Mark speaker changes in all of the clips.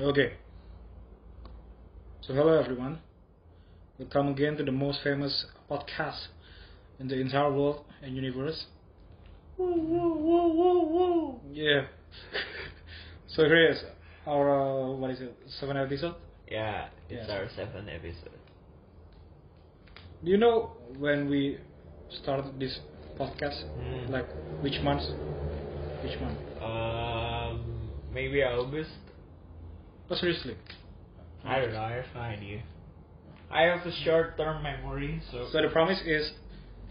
Speaker 1: Okay. So, hello everyone. We come again to the most famous podcast in the entire world and universe.
Speaker 2: Woo, woo, woo, woo, woo.
Speaker 1: Yeah. so, here is our, uh, what is it, seventh episode.
Speaker 2: Yeah, it's
Speaker 1: Yeah.
Speaker 2: our seventh episode.
Speaker 1: Do you know when we started this podcast?
Speaker 2: Hmm.
Speaker 1: Like, which month? Which month?
Speaker 2: Um, maybe August.
Speaker 1: Oh, seriously.
Speaker 2: I don't know. I have no idea. I have a short-term memory, so.
Speaker 1: So the promise is,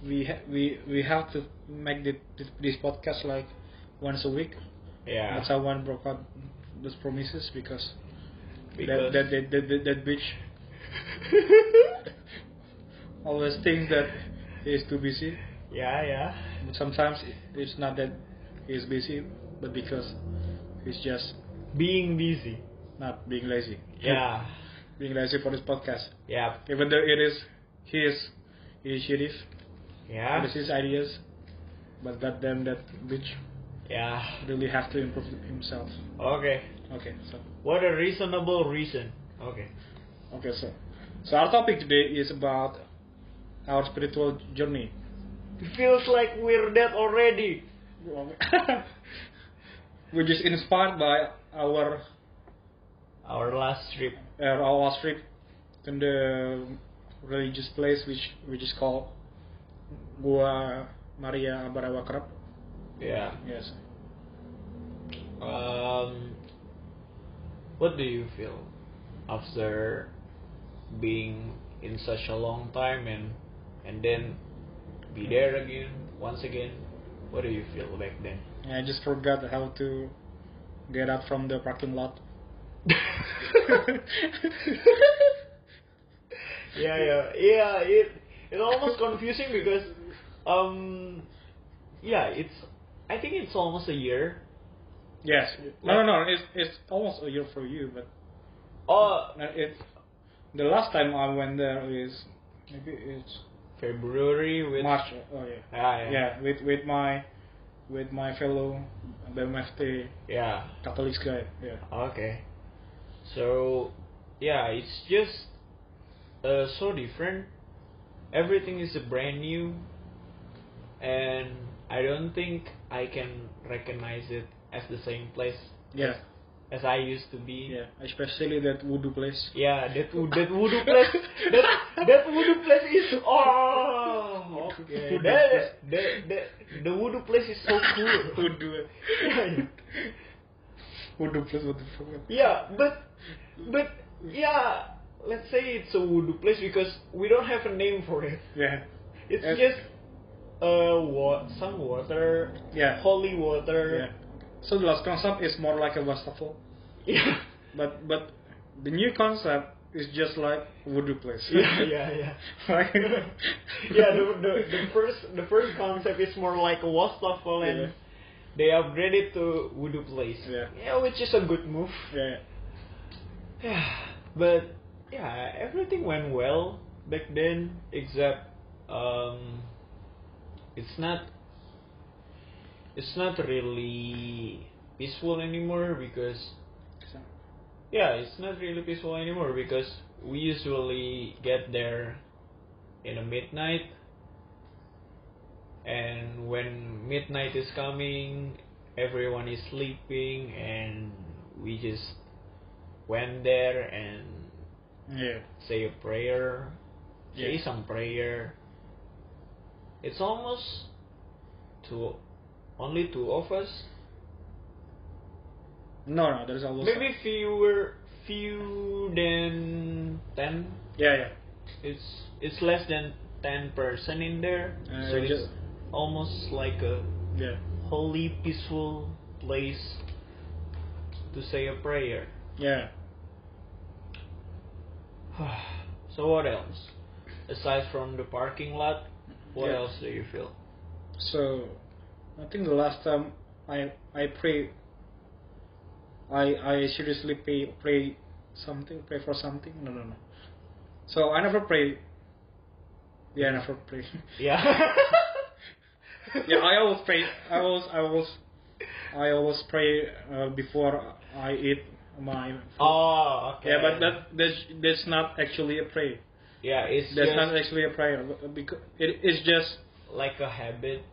Speaker 1: we ha- we we have to make the, this, this podcast like once a week.
Speaker 2: yeah.
Speaker 1: That's how one broke up those promises because,
Speaker 2: Because-
Speaker 1: that, that, that, that that bitch always thinks that he is too busy.
Speaker 2: yeah, yeah.
Speaker 1: But sometimes it's not that he is busy, but because he's just
Speaker 2: Being busy.
Speaker 1: not being lazy.
Speaker 2: Yeah.
Speaker 1: being lazy for this podcast.
Speaker 2: Yeah.
Speaker 1: Even though it is his initiative,
Speaker 2: Yeah.
Speaker 1: it is his ideas, but goddamn that bitch
Speaker 2: Yeah.
Speaker 1: really have to improve himself.
Speaker 2: Okay.
Speaker 1: Okay, so
Speaker 2: What a reasonable reason. Okay.
Speaker 1: okay, so so our topic today is about our spiritual journey.
Speaker 2: It feels like we're dead already.
Speaker 1: which is inspired by our
Speaker 2: Our last trip.
Speaker 1: uh, our trip to the religious place which which is called Gua Maria Abarawa Kerap.
Speaker 2: Yeah.
Speaker 1: Yes.
Speaker 2: Um, what do you feel after being in such a long time and and then be there again once again? What do you feel back then?
Speaker 1: I just forgot how to get out from the parking lot.
Speaker 2: yeah, yeah, yeah. It it's almost confusing because um, yeah, it's I think it's almost a year.
Speaker 1: Yes. No, no, no. It's it's almost a year for you, but
Speaker 2: Oh,
Speaker 1: uh, it. The last time I went there is maybe it's
Speaker 2: February with
Speaker 1: March. Oh yeah.
Speaker 2: Ah, yeah.
Speaker 1: Yeah, with with my with my fellow BMFT
Speaker 2: yeah.
Speaker 1: Catholics guy. Yeah.
Speaker 2: Okay. So, yeah, it's just uh, so different. Everything is brand new, and I don't think I can recognize it as the same place
Speaker 1: Yeah.
Speaker 2: as I used to be.
Speaker 1: Yeah. Especially that voodoo place.
Speaker 2: Yeah, that wo- that voodoo place, that that voodoo place is oh okay.
Speaker 1: Voodoo place.
Speaker 2: That, that, that the voodoo place is so cool.
Speaker 1: voodoo. voodoo place. What the fuck?
Speaker 2: Yeah, but but yeah, let's say it's a voodoo place because we don't have a name for it.
Speaker 1: Yeah.
Speaker 2: It's
Speaker 1: Yes.
Speaker 2: just uh wa- some water,
Speaker 1: Yeah.
Speaker 2: holy water.
Speaker 1: Yeah. So the last concept is more like a waterfall,
Speaker 2: Yeah.
Speaker 1: but but the new concept is just like voodoo place.
Speaker 2: Yeah, yeah, yeah.
Speaker 1: Like-
Speaker 2: yeah, the, the the first the first concept is more like a waterfall and
Speaker 1: Yeah.
Speaker 2: they upgraded to voodoo place.
Speaker 1: Yeah.
Speaker 2: yeah, which is a good move.
Speaker 1: Yeah.
Speaker 2: Yeah, but yeah, everything went well back then, except um, it's not it's not really peaceful anymore because
Speaker 1: So-
Speaker 2: yeah, it's not really peaceful anymore because we usually get there in the midnight and when midnight is coming everyone is sleeping and we just went there and
Speaker 1: Yeah.
Speaker 2: say a prayer, say
Speaker 1: Yeah.
Speaker 2: some prayer. It's almost two, only two of us.
Speaker 1: No, no. There's always
Speaker 2: Maybe fewer, few than ten.
Speaker 1: Yeah, yeah.
Speaker 2: It's it's less than ten person in there,
Speaker 1: Uh,
Speaker 2: so it's
Speaker 1: just-
Speaker 2: almost like a
Speaker 1: Yeah.
Speaker 2: holy, peaceful place to say a prayer.
Speaker 1: Yeah.
Speaker 2: so what else? Aside from the parking lot, what
Speaker 1: Yeah.
Speaker 2: else do you feel?
Speaker 1: So, I think the last time I I pray, I I seriously pray pray something pray for something. No no no. So I never pray. Yeah, I never pray.
Speaker 2: Yeah.
Speaker 1: yeah, I always pray. I always I always I always pray uh, before I eat my
Speaker 2: Oh, okay.
Speaker 1: yeah but that that's that's not actually a prayer
Speaker 2: yeah, it's
Speaker 1: that's
Speaker 2: just
Speaker 1: not actually a prayer uh, because it, it's just
Speaker 2: like a habit,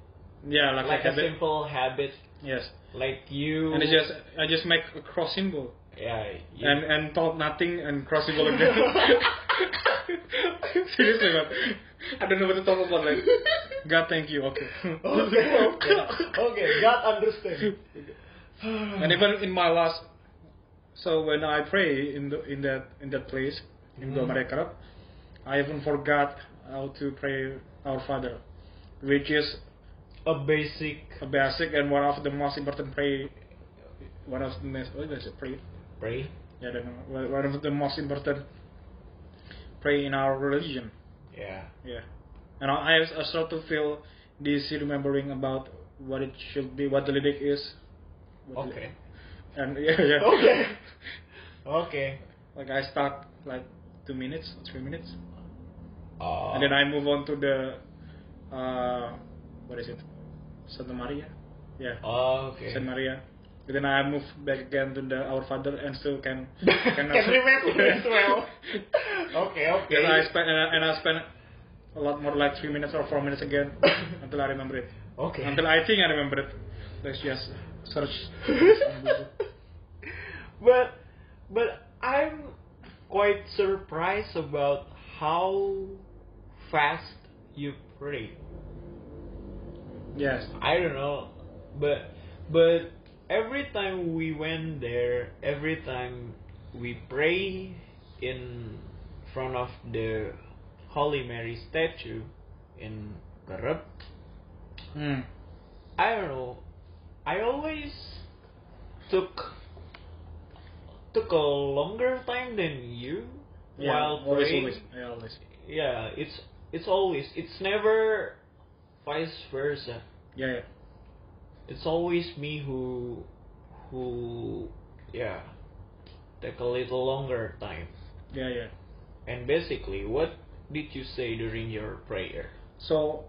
Speaker 1: yeah like,
Speaker 2: like,
Speaker 1: a
Speaker 2: a,
Speaker 1: habit
Speaker 2: simple habit,
Speaker 1: yes
Speaker 2: like you.
Speaker 1: and it's just I just make a cross symbol
Speaker 2: yeah, you,
Speaker 1: and and thought nothing and cross symbol again seriously man I don't know what to talk about Oh, like God thank you okay
Speaker 2: okay, God understand.
Speaker 1: and even in my last so when I pray in the in that in that place in
Speaker 2: Mhm.
Speaker 1: Gua Marekarap, I even forgot how to pray Our Father, which is
Speaker 2: a basic
Speaker 1: a basic and one of the most important pray. One of the most what is it pray?
Speaker 2: pray.
Speaker 1: Yeah, I don't know. One- One of the most important pray in our religion.
Speaker 2: Yeah.
Speaker 1: Yeah, and I I start to feel this remembering about what it should be, what the lyric is. What the-
Speaker 2: Okay.
Speaker 1: and yeah, yeah.
Speaker 2: Okay. Okay.
Speaker 1: Like I stuck like two minutes, three minutes,
Speaker 2: Uh,
Speaker 1: and then I move on to the uh, what is it, Santa Maria, yeah,
Speaker 2: Oh, okay.
Speaker 1: Santa Maria. And then I move back again to the Our Father and still can
Speaker 2: Can remember as well. Okay, okay.
Speaker 1: And I spend and I, and I spend a lot more like three minutes or four minutes again until I remember it.
Speaker 2: Okay.
Speaker 1: Until I think I remember it. Let's just search.
Speaker 2: but but I'm quite surprised about how fast you pray.
Speaker 1: yes.
Speaker 2: I don't know, but but every time we went there, every time we pray in front of the Holy Mary statue in Garab,
Speaker 1: Hmm.
Speaker 2: I don't know. I always took took a longer time than you
Speaker 1: Yeah,
Speaker 2: while
Speaker 1: always,
Speaker 2: praying.
Speaker 1: always, yeah, always.
Speaker 2: Yeah, it's it's always it's never vice versa.
Speaker 1: Yeah, yeah.
Speaker 2: it's always me who who yeah take a little longer time
Speaker 1: Yeah, yeah.
Speaker 2: and basically what did you say during your prayer
Speaker 1: So,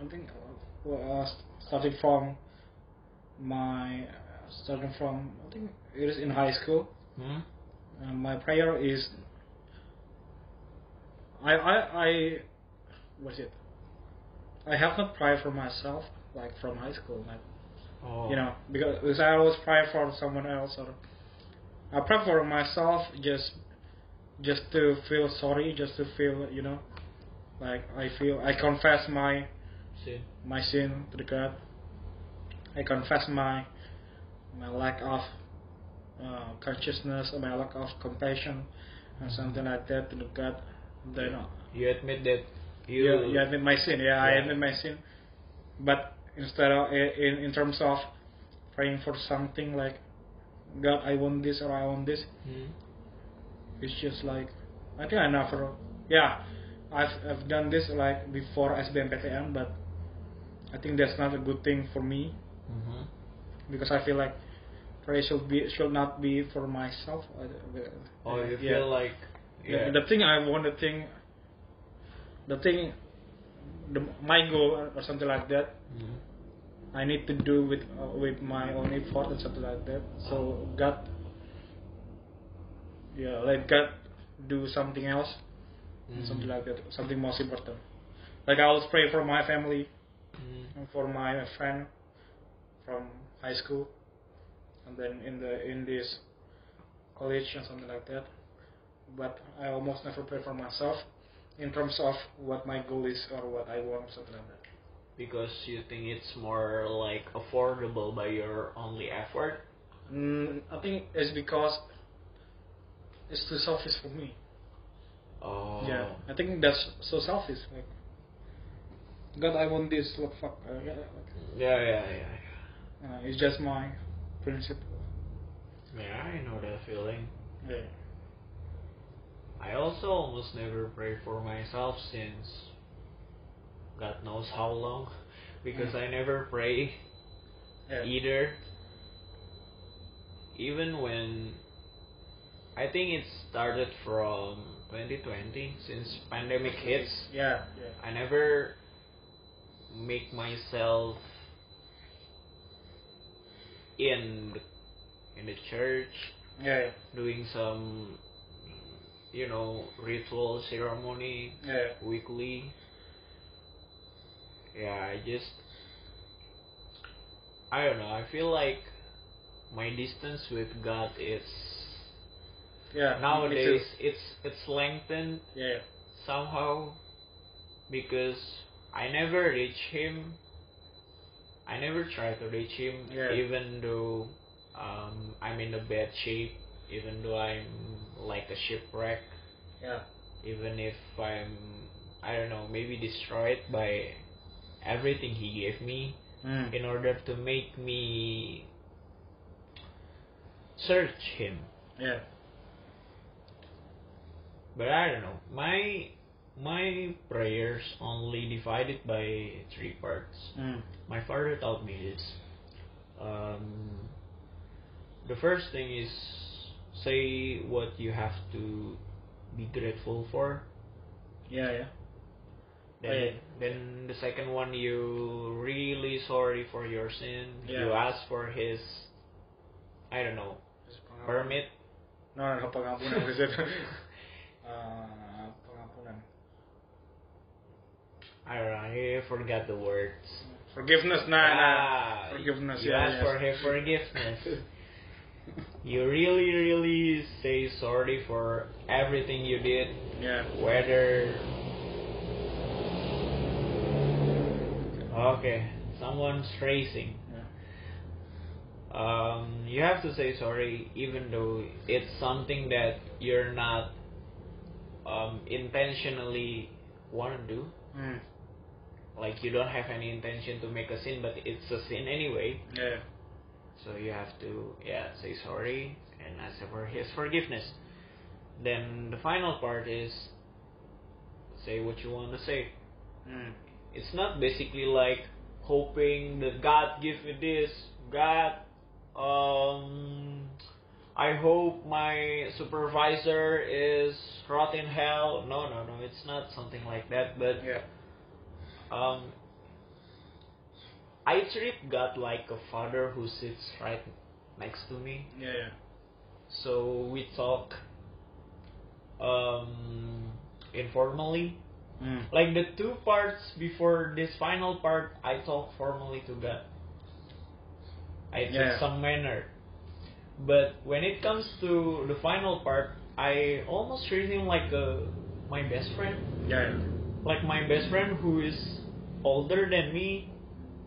Speaker 1: I think well, uh, starting from my starting from I think it is in high school.
Speaker 2: hmm?
Speaker 1: And my prayer is I I I what is it? I have not prayed for myself like from high school, like
Speaker 2: oh
Speaker 1: you know, because, because I always pray for someone else or I pray for myself just just to feel sorry, just to feel you know, like I feel I confess my
Speaker 2: see.
Speaker 1: my sin to the God. I confess my my lack of uh, consciousness, my lack of compassion, and something like that to the God. Then
Speaker 2: you admit that you
Speaker 1: yeah, yeah, I admit my sin. Yeah, I
Speaker 2: Yeah.
Speaker 1: admit my sin. But instead of in in terms of praying for something like God, I want this or I want this,
Speaker 2: Hmm?
Speaker 1: it's just like I think I never. Yeah, I've I've done this like before SBMPTN, but I think that's not a good thing for me Mm-hmm.
Speaker 2: Mhm.
Speaker 1: because I feel like prayer should be should not be for myself. I-
Speaker 2: oh you
Speaker 1: yeah.
Speaker 2: feel like yeah
Speaker 1: The, the thing I want, the thing, the thing, the, my goal or- or something like that,
Speaker 2: Mhm.
Speaker 1: Mm-hmm. I need to do with uh, with my own effort and something like that. So God, yeah, let God do something else,
Speaker 2: Mhm.
Speaker 1: something like that, something more important. Like I always pray for my family,
Speaker 2: Mhm.
Speaker 1: and for my friend from high school, and then in the in this college and something like that. But I almost never pray for myself in terms of what my goal is or what I want, something like that.
Speaker 2: because you think it's more like affordable by your only effort
Speaker 1: Mm, I think it's because it's too selfish for me.
Speaker 2: oh
Speaker 1: Yeah, I think that's so selfish. Like, God, I want this. What fuck? Uh, yeah, like,
Speaker 2: yeah yeah yeah
Speaker 1: uh, it's just my principle.
Speaker 2: yeah i know that feeling
Speaker 1: Yeah.
Speaker 2: I also almost never pray for myself since God knows how long because
Speaker 1: Mm.
Speaker 2: I never pray
Speaker 1: Yeah.
Speaker 2: either. Even when I think it started from 2020 since pandemic hits,
Speaker 1: Yeah. Yeah.
Speaker 2: I never make myself in the in the church,
Speaker 1: yeah,
Speaker 2: doing some, you know, ritual ceremony
Speaker 1: yeah, yeah.
Speaker 2: weekly. Yeah, I just, I don't know. I feel like my distance with God is
Speaker 1: yeah.
Speaker 2: nowadays it's it's lengthened
Speaker 1: Yeah,
Speaker 2: somehow because I never reach him. I never try to reach him,
Speaker 1: Yeah.
Speaker 2: even though um, I'm in a bad shape, even though I'm like a shipwreck,
Speaker 1: yeah,
Speaker 2: even if I'm, I don't know, maybe destroyed by everything he gave me
Speaker 1: mm.
Speaker 2: in order to make me search him.
Speaker 1: yeah,
Speaker 2: But I don't know. My my prayers only divided by three parts.
Speaker 1: mm.
Speaker 2: My father taught me this. Um, the first thing is say what you have to be grateful for.
Speaker 1: yeah, yeah,
Speaker 2: Then,
Speaker 1: Oh, yeah.
Speaker 2: then the second one, you really sorry for your sin.
Speaker 1: Yeah.
Speaker 2: You ask for his, I don't know, permit.
Speaker 1: No, no, pengampunan maksud. uh, pengampunan.
Speaker 2: I don't know. I forgot the words.
Speaker 1: Forgiveness, nah, nah.
Speaker 2: Ah,
Speaker 1: Forgiveness,
Speaker 2: You
Speaker 1: yeah,
Speaker 2: ask
Speaker 1: yes.
Speaker 2: for his forgiveness. you really, really say sorry for everything you did,
Speaker 1: Yeah.
Speaker 2: whether. Okay, someone's racing.
Speaker 1: yeah.
Speaker 2: Um, you have to say sorry, even though it's something that you're not um, intentionally want to do.
Speaker 1: Mm.
Speaker 2: Like you don't have any intention to make a sin, but it's a sin anyway.
Speaker 1: Yeah.
Speaker 2: So you have to yeah say sorry and ask for his forgiveness. Then the final part is say what you want to say.
Speaker 1: Mm.
Speaker 2: Hmm. It's not basically like hoping that God give me this. God, um, I hope my supervisor is rot in hell. No, no, no. It's not something like that. But
Speaker 1: Yeah.
Speaker 2: um, I treat God like a father who sits right next to me.
Speaker 1: Yeah. Yeah.
Speaker 2: So we talk um, informally.
Speaker 1: Mm.
Speaker 2: Like the two parts before this final part, I talk formally to God. I took
Speaker 1: Yeah.
Speaker 2: some manner. But when it comes to the final part, I almost treat him like a, my best friend
Speaker 1: Yeah.
Speaker 2: like my best friend who is older than me,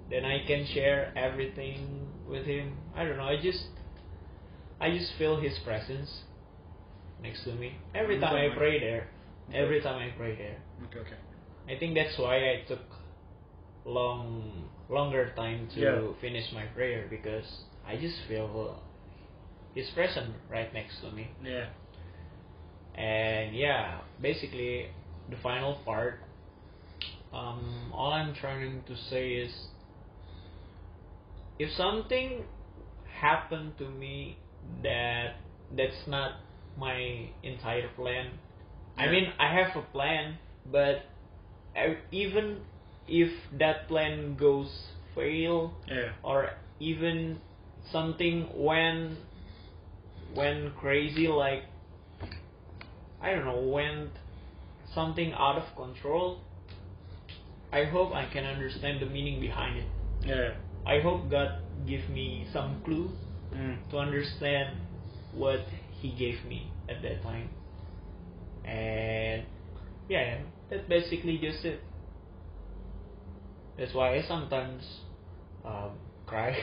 Speaker 2: then I can share everything with him. I don't know. I just I just feel his presence next to me every time I pray there. Every time I pray there,
Speaker 1: Okay. Okay.
Speaker 2: I think that's why I took long longer time to
Speaker 1: Yeah.
Speaker 2: finish my prayer because I just feel his presence right next to me.
Speaker 1: Yeah.
Speaker 2: And yeah, basically the final part. Um, all I'm trying to say is, if something happened to me that that's not my entire plan. I
Speaker 1: Yeah.
Speaker 2: mean, I have a plan, but I, even if that plan goes fail,
Speaker 1: Yeah.
Speaker 2: or even something when when crazy like I don't know when something out of control I hope I can understand the meaning behind it
Speaker 1: Yeah.
Speaker 2: I hope God give me some clue
Speaker 1: Mm.
Speaker 2: to understand what he gave me at that time and yeah that's basically just it that's why I sometimes um, cry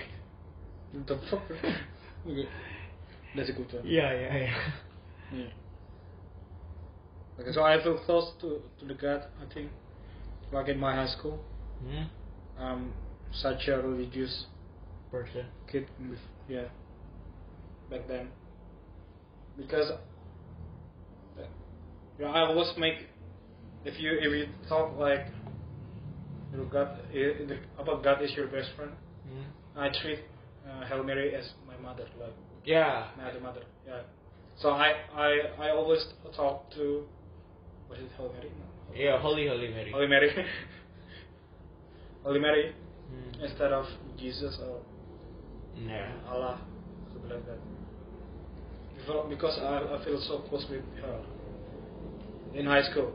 Speaker 1: The fuck? okay. That's a good one.
Speaker 2: Yeah, yeah, yeah.
Speaker 1: Yeah. Okay, so I feel close to, to the God, I think. Like in my high school,
Speaker 2: Hmm?
Speaker 1: I'm such a religious
Speaker 2: Person.
Speaker 1: kid, bef- yeah, back then. Because, uh, you know, I always make, if you if you talk like, you know, God, i- the, about God is your best friend,
Speaker 2: Hmm?
Speaker 1: I treat uh, Hail Mary as my mother, like,
Speaker 2: Yeah.
Speaker 1: my other mother. Yeah. So I I I always talk to what is it, Holy Mary? No.
Speaker 2: Yeah, Holy Holy Mary.
Speaker 1: Holy Mary. Holy Mary
Speaker 2: Hmm.
Speaker 1: instead of Jesus or
Speaker 2: Yeah.
Speaker 1: Allah. something like that. Because- Because I, I feel so close with her in high school,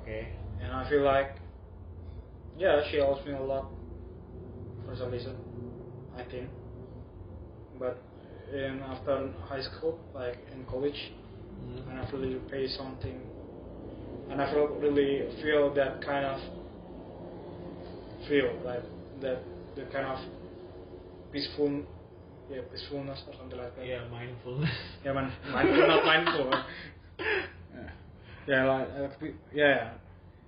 Speaker 2: Okay.
Speaker 1: and I feel like, yeah, she helps me a lot for some reason, I think. But in after high school, like in college,
Speaker 2: Mhm.
Speaker 1: and I really pay something, and I feel really feel that kind of feel like that that kind of peaceful, yeah, peacefulness or something like that.
Speaker 2: Yeah, mindfulness.
Speaker 1: Yeah, man, mindful, not mindful. Yeah, yeah, like, uh, pe- yeah,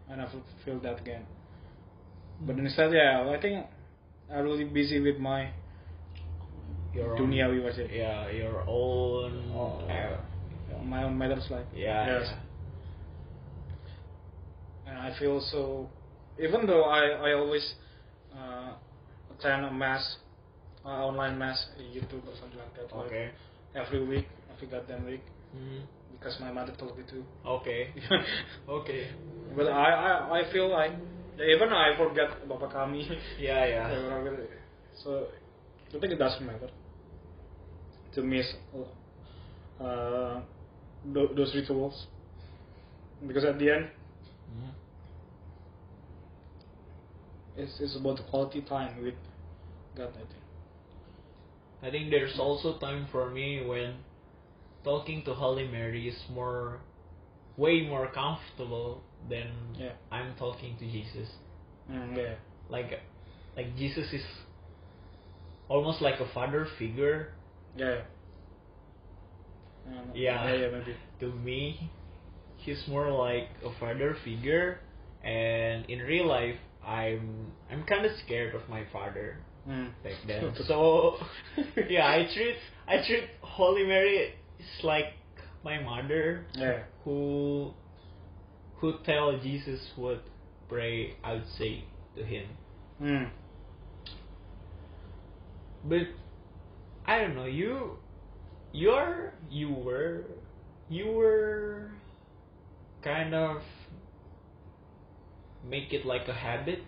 Speaker 1: and I feel- feel that again. But instead, yeah, I think I'm really busy with my
Speaker 2: Your
Speaker 1: dunia
Speaker 2: own,
Speaker 1: we were saying.
Speaker 2: Yeah, your own.
Speaker 1: Oh,
Speaker 2: uh,
Speaker 1: my own mother's life.
Speaker 2: yeah.
Speaker 1: Yes. and I feel so. Even though I I always uh, attend a mass, uh, online mass, uh, YouTube or something like that,
Speaker 2: yeah.
Speaker 1: like,
Speaker 2: Okay.
Speaker 1: every week, every goddamn week,
Speaker 2: Mhm.
Speaker 1: because my mother told me to.
Speaker 2: Okay. Okay.
Speaker 1: but I, I I feel like even I forget Bapa Kami.
Speaker 2: Yeah, yeah.
Speaker 1: so I think it doesn't matter to miss uh, tho- those rituals because at the end
Speaker 2: Mhm.
Speaker 1: It's, it's about the quality time with God, I think.
Speaker 2: I think there's also time for me when talking to Holly Mary is more, way more comfortable than
Speaker 1: Yeah.
Speaker 2: I'm talking to Jesus.
Speaker 1: Mm, yeah.
Speaker 2: Like, like Jesus is almost like a father figure
Speaker 1: Yeah. Um,
Speaker 2: Yeah.
Speaker 1: Yeah, yeah, maybe.
Speaker 2: to me. He's more like a father figure, and in real life, I'm I'm kind of scared of my father.
Speaker 1: Mm.
Speaker 2: back then. so yeah, I treat I treat Holy Mary is like my mother
Speaker 1: Yeah.
Speaker 2: who who tell Jesus what pray I would say to him.
Speaker 1: Mm.
Speaker 2: But I don't know, you you're you were you were kind of make it like a habit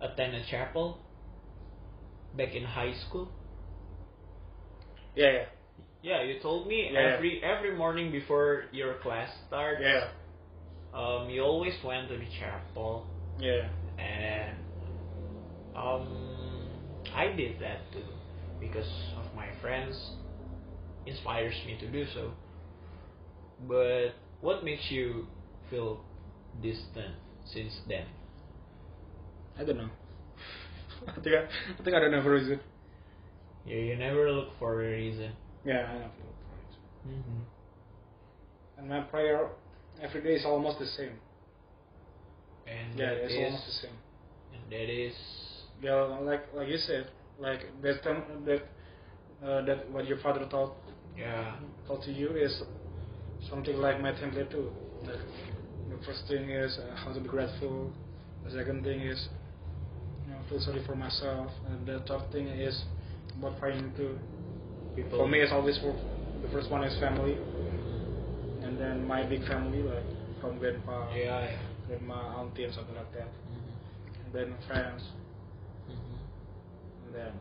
Speaker 2: attend a chapel back in high school
Speaker 1: Yeah, yeah.
Speaker 2: Yeah, you told me
Speaker 1: Yeah.
Speaker 2: every every morning before your class starts.
Speaker 1: Yeah.
Speaker 2: Um, you always went to the chapel,
Speaker 1: Yeah.
Speaker 2: and um, I did that too because of my friends inspires me to do so. But what makes you feel distant since then?
Speaker 1: I don't know. I think I, I think I don't know for a reason.
Speaker 2: You you never look for a reason.
Speaker 1: Yeah, I don't know for a reason.
Speaker 2: Mm-hmm.
Speaker 1: And my prayer every day is almost the same.
Speaker 2: And
Speaker 1: Yeah,
Speaker 2: that
Speaker 1: it's
Speaker 2: is-
Speaker 1: almost the same.
Speaker 2: and that is
Speaker 1: Yeah, like like you said, like that time that uh, that what your father taught
Speaker 2: yeah.
Speaker 1: taught to you is something like my template too. Like the first thing is uh, how to be grateful. The second thing is you know, feel sorry for myself, and the third thing is about praying to.
Speaker 2: People
Speaker 1: Mm-hmm. For me, it's always for the first one is family, and then my big family like from grandpa,
Speaker 2: Yeah. yeah.
Speaker 1: grandma, auntie, and something like that.
Speaker 2: Mm-hmm.
Speaker 1: And then friends, and then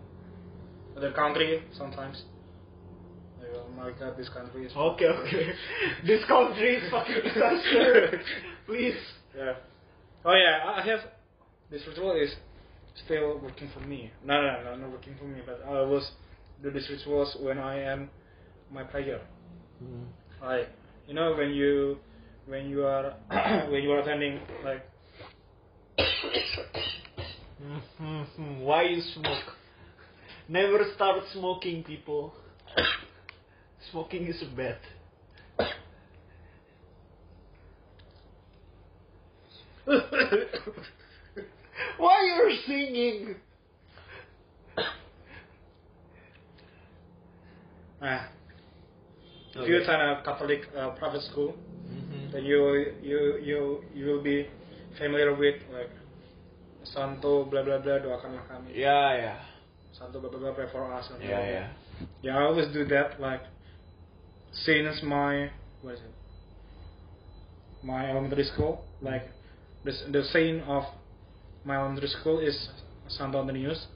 Speaker 1: other country sometimes. Like, oh my God, this country is
Speaker 2: Okay, okay. this country is fucking disaster. Please.
Speaker 1: Yeah. Oh yeah, I- I have this ritual is still working for me. No, no, no, not working for me. But I was do this rituals when I am my prayer. Like you know when you when you are when you are attending like
Speaker 2: Mhm. Why you smoke? Never start smoking, people. Smoking is bad. Why you're singing?
Speaker 1: ah, if you attend a Catholic uh, private school,
Speaker 2: Mm-hmm.
Speaker 1: then you you you you will be familiar with like Santo blah blah blah doakanlah kami.
Speaker 2: Yeah, yeah.
Speaker 1: Santo blah blah blah pray for us. and blah,
Speaker 2: Yeah,
Speaker 1: blah, blah.
Speaker 2: yeah.
Speaker 1: Yeah, I always do that. Like, since my what is it? My elementary school, like the the saint of my elementary school is Santo Antonius,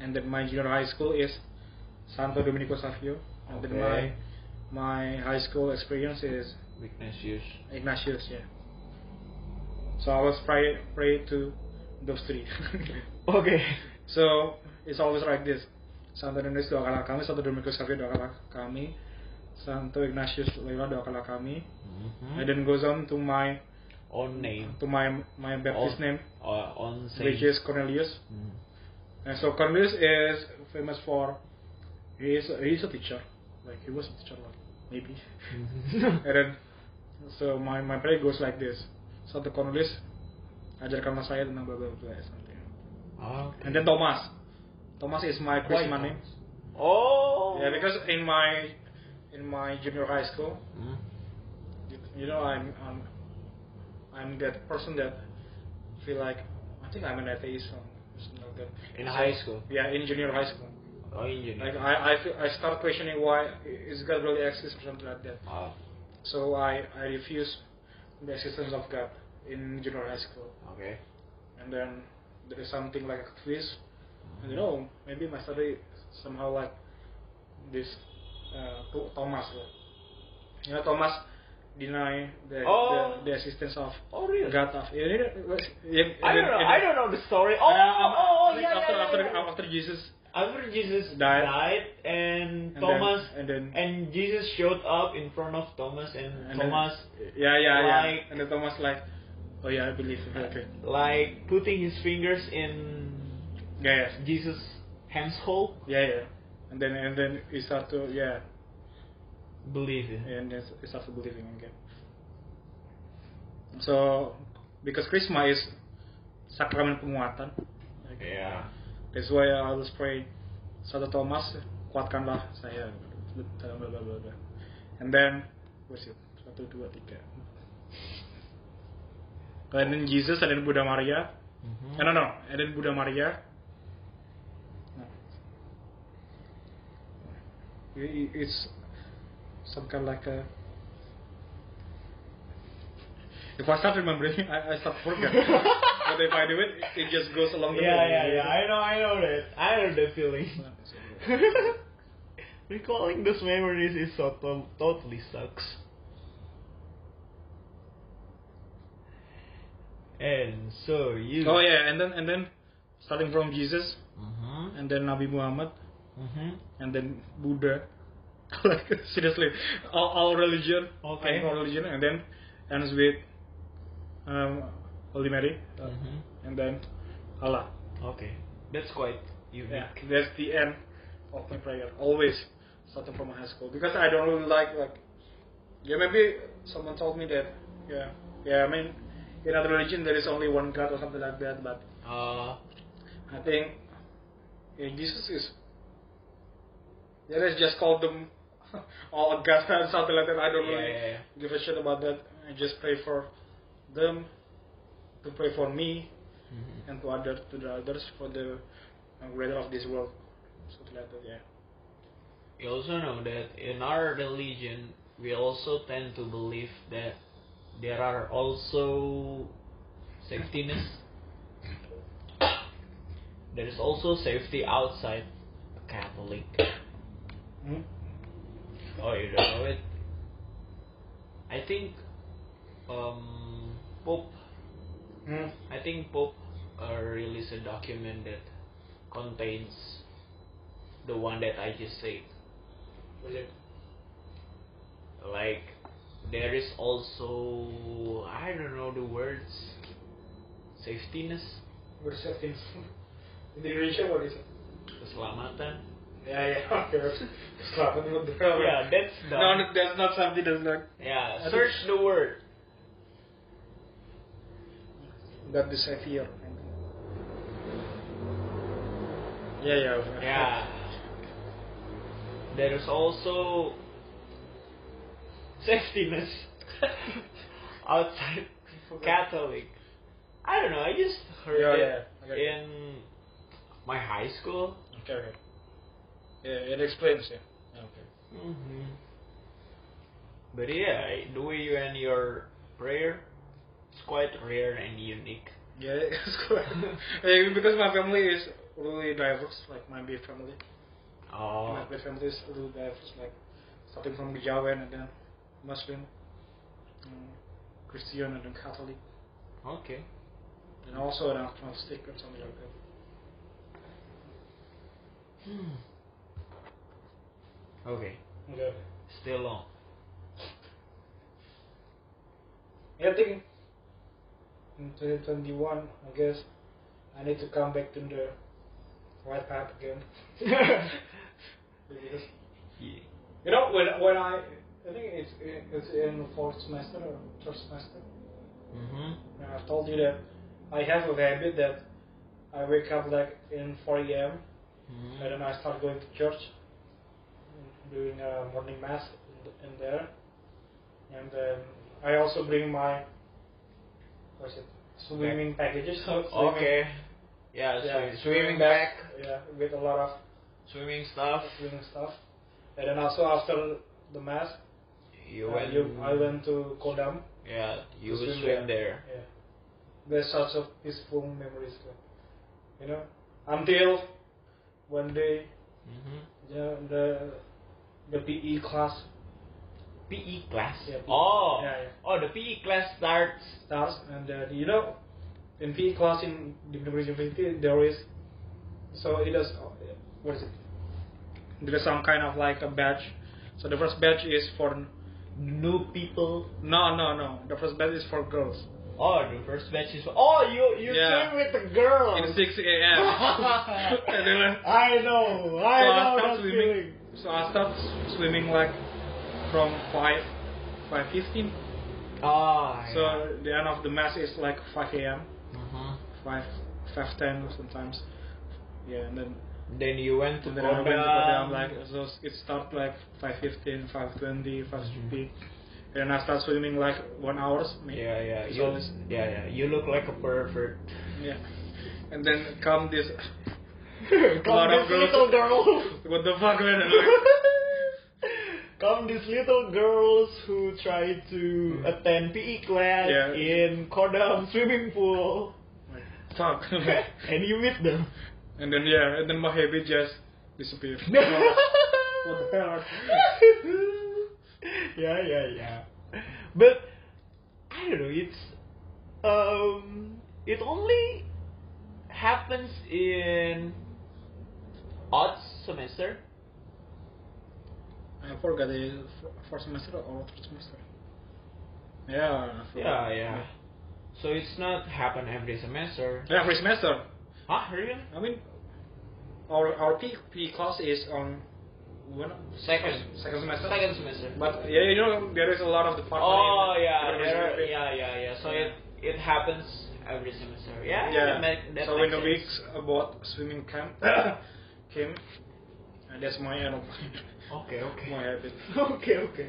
Speaker 1: and then my junior high school is Santo Domenico Savio. And then my
Speaker 2: Okay.
Speaker 1: my high school experience is
Speaker 2: Weakness use.
Speaker 1: Ignatius, yeah. So I was pray pray to those three.
Speaker 2: Okay.
Speaker 1: so it's always like this. Santo Dominikus doa kala kami, Santo Dominikus Savio doa kala kami, Santo Ignatius Loyola doa kala kami.
Speaker 2: Mhm.
Speaker 1: And then goes on to my
Speaker 2: on name.
Speaker 1: to my my Baptist
Speaker 2: on,
Speaker 1: name,
Speaker 2: Uh, on saint.
Speaker 1: which is Cornelius.
Speaker 2: Mhm.
Speaker 1: And so Cornelius is famous for he is he is a teacher, like he was a teacher, like, maybe.
Speaker 2: Mm-hmm.
Speaker 1: and then so my my prayer goes like this. So the Cornelius ajarkanlah saya tentang bla bla bla something.
Speaker 2: Okay.
Speaker 1: And then Thomas, Thomas is my
Speaker 2: Why
Speaker 1: Christian name.
Speaker 2: Thomas? Oh.
Speaker 1: Yeah, because in my in my junior high school,
Speaker 2: Mhm.
Speaker 1: you, you know I'm I'm I'm that person that feel like I think I'm an atheist or something like that.
Speaker 2: In
Speaker 1: So-
Speaker 2: high school.
Speaker 1: Yeah, in junior high school.
Speaker 2: Oh, engineer.
Speaker 1: Like I, I, feel, I start questioning why is God really exists or something like that.
Speaker 2: Oh,
Speaker 1: So I, I refuse the existence of God in junior high school.
Speaker 2: okay.
Speaker 1: And then there is something like a quiz. I don't know, maybe my study somehow like this uh, to Thomas. right? You know, Thomas deny the,
Speaker 2: Oh.
Speaker 1: the, the existence of
Speaker 2: Oh, really?
Speaker 1: God of. You know, yeah,
Speaker 2: I don't know. I don't know the story. Oh, oh, oh,
Speaker 1: uh, um,
Speaker 2: yeah,
Speaker 1: after,
Speaker 2: yeah,
Speaker 1: after,
Speaker 2: yeah, yeah.
Speaker 1: after Jesus
Speaker 2: After Jesus
Speaker 1: Died.
Speaker 2: died, and,
Speaker 1: and
Speaker 2: Thomas
Speaker 1: then, and then
Speaker 2: and Jesus showed up in front of Thomas and,
Speaker 1: And then-
Speaker 2: Thomas
Speaker 1: yeah, yeah, yeah.
Speaker 2: like-
Speaker 1: And then Thomas like, oh yeah, I believe. Okay, okay.
Speaker 2: like putting his fingers in
Speaker 1: Yeah, yeah,
Speaker 2: Jesus' hands hole.
Speaker 1: yeah, yeah. And then and then he start to yeah,
Speaker 2: Believe it.
Speaker 1: and then he start to believing again. So because Chrisma is sakramen penguatan,
Speaker 2: Yeah.
Speaker 1: that's why I always pray, Santo Thomas kuatkanlah saya dalam bla bla bla bla. And then what's it? Satu dua tiga. And then Jesus and then Buddha Maria.
Speaker 2: Mhm.
Speaker 1: I don't know. And then Buddha Maria. No. I- i- It's some kind of like a. If I start remembering, I, I start forgetting. but if I do it, it just goes along the
Speaker 2: Yeah,
Speaker 1: way.
Speaker 2: yeah, yeah. I know, I know that. I know that feeling. Recalling those memories is so to- totally sucks. And so you.
Speaker 1: Oh yeah, and then and then starting from Jesus,
Speaker 2: Mhm.
Speaker 1: and then Nabi Muhammad,
Speaker 2: Mhm.
Speaker 1: and then Buddha. like seriously, all, all religion,
Speaker 2: Okay.
Speaker 1: all religion, and then ends with um, Holy Mary, uh,
Speaker 2: Mhm.
Speaker 1: and then Allah.
Speaker 2: Okay. That's quite
Speaker 1: Yeah,
Speaker 2: unique.
Speaker 1: that's the end of my prayer. Always starting from high school because I don't really like like. Yeah, maybe someone told me that. Yeah, yeah. I mean, in other religion there is only one God or something like that, but
Speaker 2: Uh.
Speaker 1: I think yeah, Jesus is. Yeah, let's just call them all Augusta and something like that. I don't
Speaker 2: Yeah,
Speaker 1: really
Speaker 2: yeah, yeah.
Speaker 1: give a shit about that. I just pray for them, to pray for me,
Speaker 2: Mhm.
Speaker 1: Mm-hmm. and to other to the others for the uh, greater of this world. Something like that. Yeah.
Speaker 2: You also know that in our religion, we also tend to believe that there are also safetiness. There is also safety outside Catholic.
Speaker 1: Hmm?
Speaker 2: Oh, you don't know it? I think um, Pope.
Speaker 1: Hmm.
Speaker 2: I think Pope uh, released a document that contains the one that I just said. like there is also I don't know the words safetyness
Speaker 1: In Indonesia, what is it?
Speaker 2: keselamatan
Speaker 1: Yeah, yeah, okay.
Speaker 2: yeah that's the
Speaker 1: No, no, that's not something that's not I
Speaker 2: yeah search the word
Speaker 1: that the savior. Yeah, yeah.
Speaker 2: yeah there is also safetyness outside Catholic I don't know I just heard
Speaker 1: Yeah,
Speaker 2: it
Speaker 1: yeah, I got it.
Speaker 2: in my high school
Speaker 1: Okay, okay. Yeah, it explains, yeah. Okay.
Speaker 2: hmm But yeah, the way you end your prayer, it's quite rare and unique.
Speaker 1: Yeah, it's cool. yeah, because my family is really diverse, like my big family.
Speaker 2: Oh.
Speaker 1: My great family is a little diverse, like starting from Javan and then Muslim, um, Christian and then Catholic,
Speaker 2: Okay.
Speaker 1: and also an agnostic or something like that.
Speaker 2: Okay.
Speaker 1: Okay.
Speaker 2: Still long.
Speaker 1: I think in 2021, "Hmm, I guess I need to come back to the right path again. Because,
Speaker 2: Yeah.
Speaker 1: you know, when when I I think it's it's in fourth semester or third semester.
Speaker 2: Mhm.
Speaker 1: And I told you that I have a habit that I wake up like in 4 a.m.
Speaker 2: Mhm.
Speaker 1: and then Mm-hmm. I start going to church, doing a morning mass in, in there, and then I also bring my what's it swimming packages. swimming-
Speaker 2: Okay.
Speaker 1: yeah,
Speaker 2: Yeah, swi- swimming back,
Speaker 1: Yeah, with a lot of
Speaker 2: swimming stuff.
Speaker 1: swimming stuff, and then also after the mass,
Speaker 2: You
Speaker 1: uh,
Speaker 2: went.
Speaker 1: you, I went to Kodam.
Speaker 2: Yeah, you
Speaker 1: to
Speaker 2: would
Speaker 1: swim
Speaker 2: swim there.
Speaker 1: Yeah. There's such of peaceful memories, like, you know, until one day
Speaker 2: Mhm.
Speaker 1: the the, the PE class
Speaker 2: PE E class.
Speaker 1: Yeah, PE.
Speaker 2: Oh.
Speaker 1: Yeah, yeah.
Speaker 2: Oh, the PE class starts.
Speaker 1: starts, and uh, you know, in PE class in the university there is, so it is uh, what is it? There is some kind of like a batch. So the first batch is for
Speaker 2: New people.
Speaker 1: no no no. The first batch is for girls.
Speaker 2: Oh, the first batch is. Oh, you you
Speaker 1: Yeah.
Speaker 2: swim with the girls.
Speaker 1: It's 6 a.m. and then, uh,
Speaker 2: I know. I
Speaker 1: so
Speaker 2: know
Speaker 1: start
Speaker 2: that feeling.
Speaker 1: swimming. So I start swimming like from five, five fifteen.
Speaker 2: Ah.
Speaker 1: So the end of the mass is like five a.m.
Speaker 2: uh
Speaker 1: five, five ten sometimes. Yeah, and then
Speaker 2: Then you went to
Speaker 1: and then I went to go down
Speaker 2: Kodam.
Speaker 1: like so it start like five fifteen, five twenty, five fifty, and I start swimming like one hours. maybe.
Speaker 2: Yeah, yeah.
Speaker 1: It's
Speaker 2: You,
Speaker 1: always-
Speaker 2: yeah, yeah. You look like a pervert.
Speaker 1: yeah. And then come this,
Speaker 2: Come
Speaker 1: lot of
Speaker 2: this little girls.
Speaker 1: what the fuck, man? And like,
Speaker 2: Come these little girls who try to attend PE class
Speaker 1: Mm-hmm. Yeah.
Speaker 2: in Kodam swimming pool,
Speaker 1: like, fuck.
Speaker 2: and you meet them.
Speaker 1: and then yeah, and then my habit just disappeared. What the hell are-
Speaker 2: yeah, yeah, yeah. But I don't know. It's um, it only happens in odd semester.
Speaker 1: I forgot the f- first semester or third semester. Yeah. I
Speaker 2: Yeah,
Speaker 1: forgot.
Speaker 2: yeah. So it's not happen every semester.
Speaker 1: Yeah, every semester.
Speaker 2: Huh? Really?
Speaker 1: I mean, our our P, P class is on when
Speaker 2: Second.
Speaker 1: second semester.
Speaker 2: Second semester.
Speaker 1: But yeah, you know there is a lot of department.
Speaker 2: oh
Speaker 1: in-
Speaker 2: yeah,
Speaker 1: in the
Speaker 2: there,
Speaker 1: university.
Speaker 2: yeah, yeah, yeah. So it it happens every semester. Yeah.
Speaker 1: Yeah.
Speaker 2: That make, that
Speaker 1: so
Speaker 2: makes
Speaker 1: when the
Speaker 2: sense.
Speaker 1: weeks about swimming camp came, and that's my end of my,
Speaker 2: Okay. Okay.
Speaker 1: my habit.
Speaker 2: okay, okay.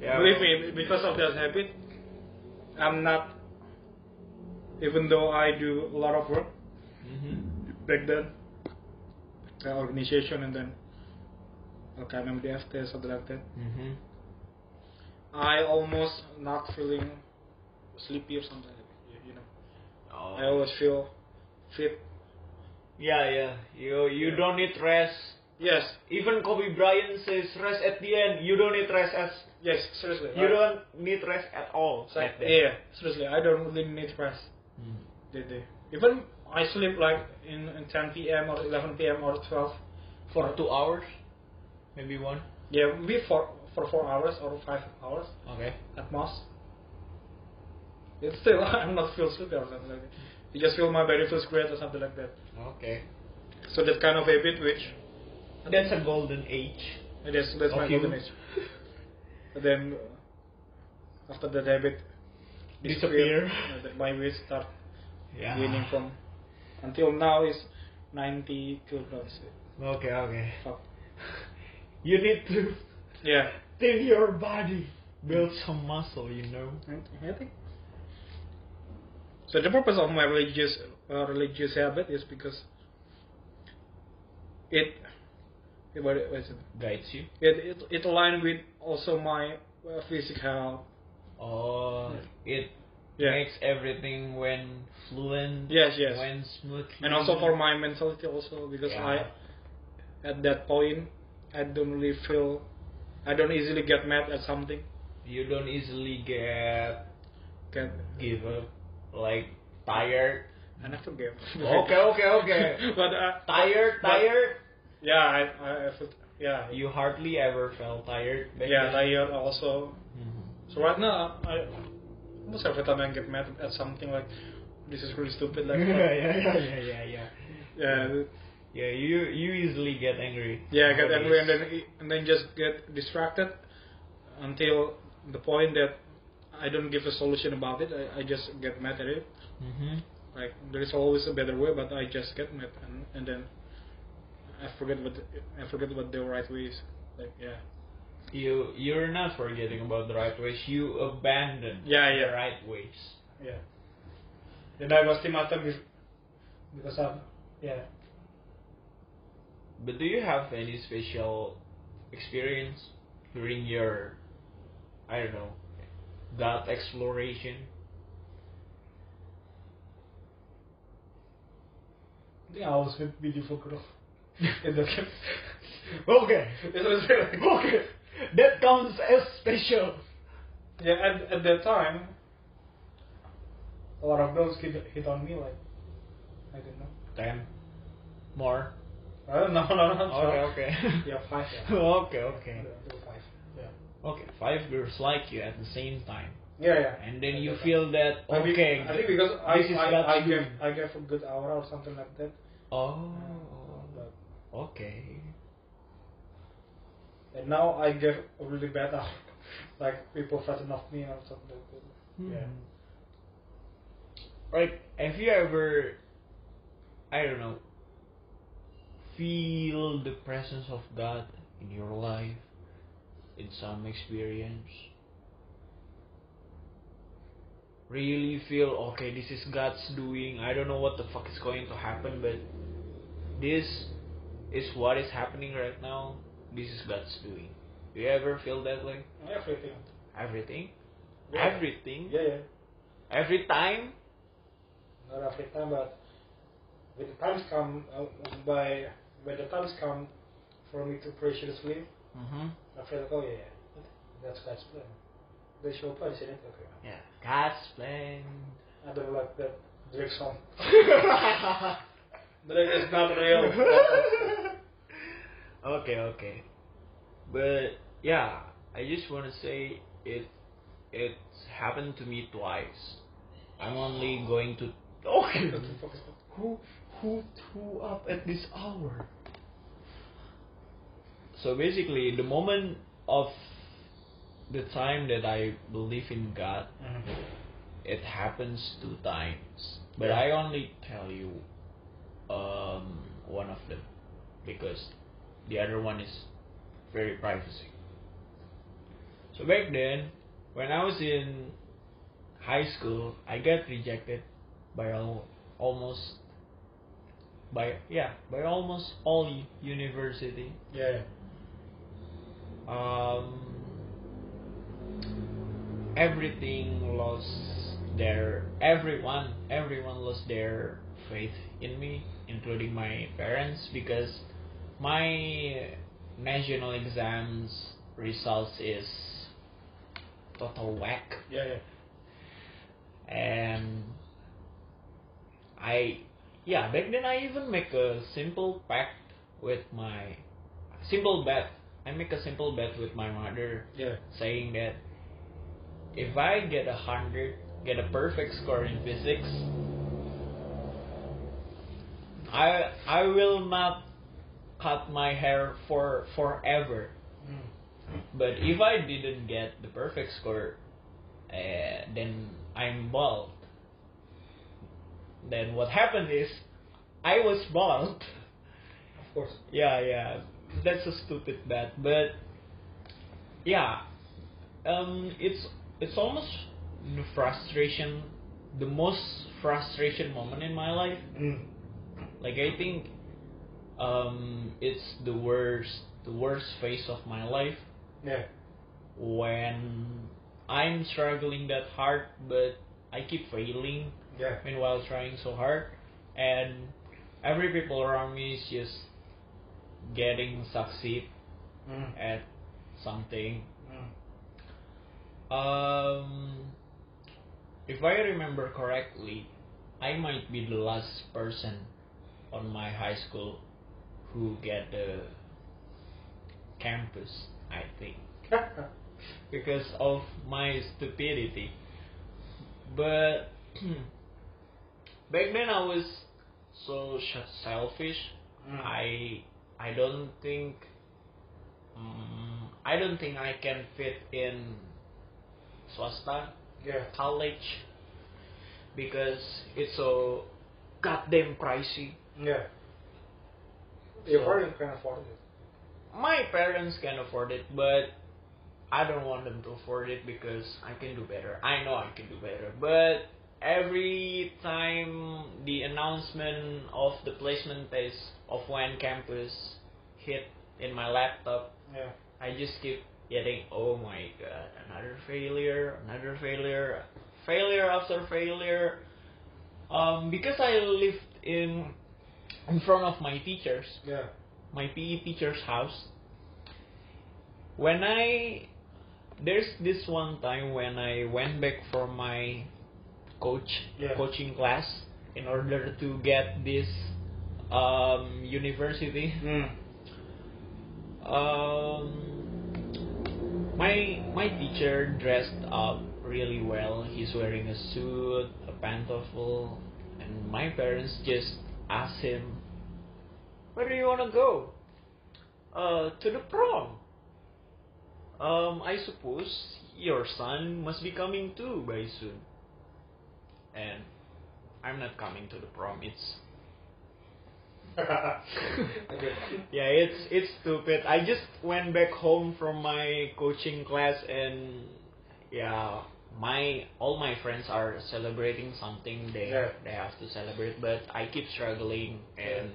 Speaker 1: Believe me, because of that habit, I'm not. Even though I do a lot of work
Speaker 2: Mm-hmm.
Speaker 1: back then, the organization and then okay, MDF test something like that.
Speaker 2: Mm-hmm.
Speaker 1: I almost not feeling sleepy or something. like that, You know, I
Speaker 2: Oh.
Speaker 1: always feel fit.
Speaker 2: Yeah, yeah. You you don't need rest.
Speaker 1: Yes,
Speaker 2: Even Kobe Bryant says rest at the end. You don't need rest as
Speaker 1: yes, seriously.
Speaker 2: you
Speaker 1: I-
Speaker 2: don't need rest at all.
Speaker 1: So,
Speaker 2: back then.
Speaker 1: yeah, seriously, I don't really need rest
Speaker 2: Mm.
Speaker 1: that day. Even I sleep like in, in 10 p.m. or 11 p.m. or 12.
Speaker 2: For two hours, maybe one.
Speaker 1: Yeah, we for for four hours or five hours
Speaker 2: Okay.
Speaker 1: at most. It's still I'm not feel sleepy or something like that. You just feel my body feels great or something like that.
Speaker 2: Okay.
Speaker 1: So that kind of habit which
Speaker 2: That's a golden age.
Speaker 1: It is. That's my
Speaker 2: of you.
Speaker 1: golden age. But then, uh, after that habit
Speaker 2: Disappear.
Speaker 1: uh, that my weight start
Speaker 2: Yeah.
Speaker 1: gaining from. Until now is 90 kilograms.
Speaker 2: Okay, okay.
Speaker 1: Fuck.
Speaker 2: You need to
Speaker 1: Yeah.
Speaker 2: thin your body, build some muscle. You know.
Speaker 1: I think. So the purpose of my religious uh, religious habit is because it it what what is it
Speaker 2: Guides you.
Speaker 1: it it, it aligns with also my uh, physical
Speaker 2: Oh, it
Speaker 1: yeah
Speaker 2: makes everything when fluent.
Speaker 1: Yes, yes.
Speaker 2: When smoothly.
Speaker 1: and also for my mentality also because
Speaker 2: Yeah.
Speaker 1: I at that point I don't really feel I don't easily get mad at something.
Speaker 2: You don't easily get
Speaker 1: Get
Speaker 2: give up, like tired.
Speaker 1: anak tuh game.
Speaker 2: Okay, okay, okay.
Speaker 1: but uh,
Speaker 2: Tired,
Speaker 1: but-
Speaker 2: tired.
Speaker 1: Yeah, I, I, I feel, yeah,
Speaker 2: You hardly ever felt tired. back
Speaker 1: yeah,
Speaker 2: then.
Speaker 1: tired also.
Speaker 2: Mhm.
Speaker 1: So right now, I almost every time I get mad at something like this is really stupid. Like
Speaker 2: yeah, yeah, yeah, yeah, yeah.
Speaker 1: yeah,
Speaker 2: Yeah, you you easily get angry.
Speaker 1: yeah, I get angry and
Speaker 2: Nowadays.
Speaker 1: then and then just get distracted until the point that I don't give a solution about it. I, I just get mad at it.
Speaker 2: Mhm.
Speaker 1: Like there is always a better way, but I just get mad and and then I forget what I forget what the right way is. Like yeah,
Speaker 2: You you're not forgetting about the right ways. You abandon
Speaker 1: Yeah, yeah.
Speaker 2: the right ways.
Speaker 1: yeah. Then I was team after because I'm yeah.
Speaker 2: But do you have any special experience during your I don't know that exploration?
Speaker 1: I think I always feel beautiful girl in the game.
Speaker 2: okay.
Speaker 1: That's what I say, like,
Speaker 2: Okay. That counts as special.
Speaker 1: Yeah, at, at that time, a lot of girls hit, hit on me like, I don't know.
Speaker 2: Ten. More.
Speaker 1: I don't know. No, no,
Speaker 2: Okay,
Speaker 1: no.
Speaker 2: okay.
Speaker 1: Yeah, five. Yeah.
Speaker 2: okay, okay.
Speaker 1: Yeah, there were five. Yeah.
Speaker 2: Okay, five girls like you at the same time.
Speaker 1: Yeah, yeah.
Speaker 2: And then
Speaker 1: At
Speaker 2: you
Speaker 1: that time.
Speaker 2: feel that,
Speaker 1: I think-
Speaker 2: okay,
Speaker 1: I think because I
Speaker 2: this is what
Speaker 1: I, I
Speaker 2: you-
Speaker 1: gave I gave a good hour or something like that.
Speaker 2: Oh,
Speaker 1: But-
Speaker 2: okay.
Speaker 1: and now I give a really bad hour. like people flatten off me or something like that.
Speaker 2: Hmm.
Speaker 1: Yeah.
Speaker 2: Like, have you ever, I don't know, feel the presence of God in your life, in some experience? Really feel, okay, this is God's doing, I don't know what the fuck is going to happen, but this is what is happening right now, this is God's doing. Do you ever feel that way?
Speaker 1: Everything.
Speaker 2: Everything?
Speaker 1: Yeah.
Speaker 2: Everything?
Speaker 1: Yeah, yeah.
Speaker 2: Every time?
Speaker 1: not every time, but when the times come, uh, by when the times come for me to preciously,
Speaker 2: Mm-hmm.
Speaker 1: I feel like, oh yeah, that's God's plan. They show up, isn't it? Okay.
Speaker 2: Yeah. God's plan.
Speaker 1: I don't like that Drake song. Drake is not real.
Speaker 2: okay, okay. But yeah, I just want to say it. It's happened to me twice. I'm only going to. Okay.
Speaker 1: What the fuck is that?
Speaker 2: who who threw up at this hour? So basically, the moment of the time that I believe in God,
Speaker 1: Mm-hmm.
Speaker 2: it happens two times. But
Speaker 1: Yeah.
Speaker 2: I only tell you um, one of them because the other one is very privacy. So back then, when I was in high school, I got rejected by al- almost by yeah by almost all u- university.
Speaker 1: Yeah.
Speaker 2: Um, everything lost their everyone everyone lost their faith in me, including my parents, because my national exams results is total whack
Speaker 1: Yeah, yeah.
Speaker 2: and I yeah back then I even make a simple pact with my simple bet I make a simple bet with my mother
Speaker 1: Yeah.
Speaker 2: saying that if I get a hundred get a perfect score in physics I I will not cut my hair for forever
Speaker 1: Mm.
Speaker 2: but if I didn't get the perfect score, uh, then I'm bald. Then what happened is, I was bald.
Speaker 1: Of course.
Speaker 2: Yeah, yeah, that's a stupid bet, but yeah, um, it's it's almost the frustration, the most frustration moment in my life.
Speaker 1: Mm.
Speaker 2: Like I think, um, it's the worst, the worst phase of my life
Speaker 1: Yeah.
Speaker 2: when I'm struggling that hard, but I keep failing
Speaker 1: Yeah.
Speaker 2: meanwhile trying so hard, and every people around me is just getting succeed
Speaker 1: Mm.
Speaker 2: at something.
Speaker 1: Mm.
Speaker 2: Um, if I remember correctly, I might be the last person on my high school who get the campus. I think because of my stupidity. But back then I was so sh- selfish.
Speaker 1: Mm.
Speaker 2: I I don't think um, I don't think I can fit in swasta
Speaker 1: yeah.
Speaker 2: college because it's so goddamn pricey.
Speaker 1: Yeah. Your
Speaker 2: So-
Speaker 1: parents can afford it.
Speaker 2: My parents can afford it, but I don't want them to afford it because I can do better. I know I can do better. But every time the announcement of the placement test of one campus hit in my laptop,
Speaker 1: Yeah.
Speaker 2: I just keep getting, oh my god, another failure, another failure, failure after failure. Um, because I lived in in front of my teachers,
Speaker 1: Yeah.
Speaker 2: my PE teacher's house. When I there's this one time when I went back for my coach
Speaker 1: Yeah.
Speaker 2: coaching class in order to get this um, university.
Speaker 1: Mm.
Speaker 2: Um, my my teacher dressed up really well. He's wearing a suit, a pantofle, and my parents just asked him, "Where do you want to go?" Uh, to the prom. Um, I suppose your son must be coming too very soon. And I'm not coming to the prom. It's
Speaker 1: okay.
Speaker 2: yeah, it's it's stupid. I just went back home from my coaching class and yeah, my all my friends are celebrating something they
Speaker 1: Yeah.
Speaker 2: they have to celebrate, but I keep struggling and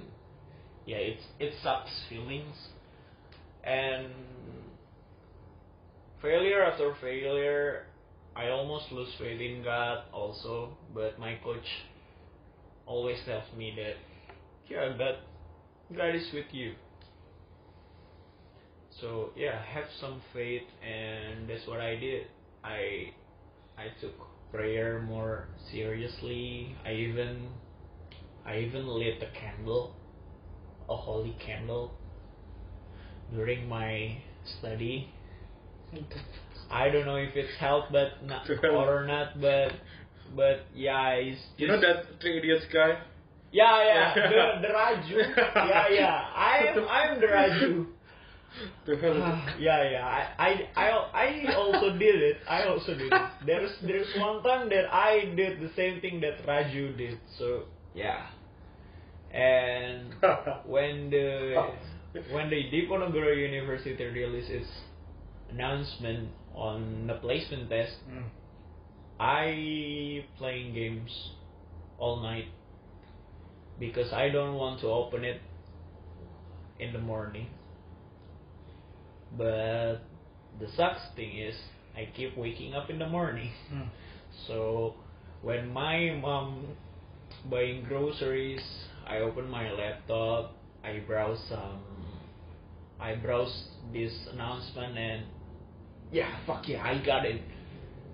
Speaker 2: yeah, it's it sucks feelings and failure after failure. I almost lose faith in God also, but my coach always tells me that yeah, God God is with you. So yeah, have some faith, and that's what I did. I I took prayer more seriously. I even I even lit a candle, a holy candle, during my study. I don't know if it's helped, but not or not, but but yeah, it's
Speaker 1: You
Speaker 2: just,
Speaker 1: know that Three Idiots guy?
Speaker 2: yeah yeah the, the Raju yeah yeah I am I am the Raju.
Speaker 1: The hell is
Speaker 2: Ah,
Speaker 1: it?
Speaker 2: yeah, yeah. I, I, I, I also did it. I also did it. There's, there's one time that I did the same thing that Raju did. So yeah. And when the when the Diponegoro University released its announcement on the placement test,
Speaker 1: Mm.
Speaker 2: I playing games all night because I don't want to open it in the morning. But the sucks thing is I keep waking up in the morning.
Speaker 1: Mm.
Speaker 2: So when my mom buying groceries, I open my laptop, I browse some I browse this announcement and yeah, fuck yeah, I got it.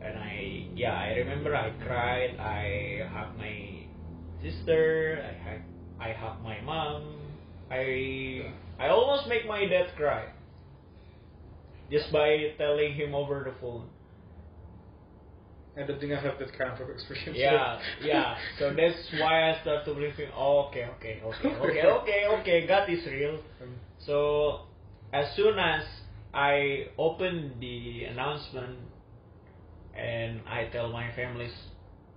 Speaker 2: And I yeah, I remember I cried, I hugged my sister, I hug I hugged my mom. I I almost make my dad cry. Just by telling him over the phone.
Speaker 1: I don't think I've had that kind of experience.
Speaker 2: Yeah, yeah. So that's why I start to believing. Oh, okay, okay, okay, okay, okay, okay. God is real.
Speaker 1: Um,
Speaker 2: So as soon as I open the announcement and I tell my families,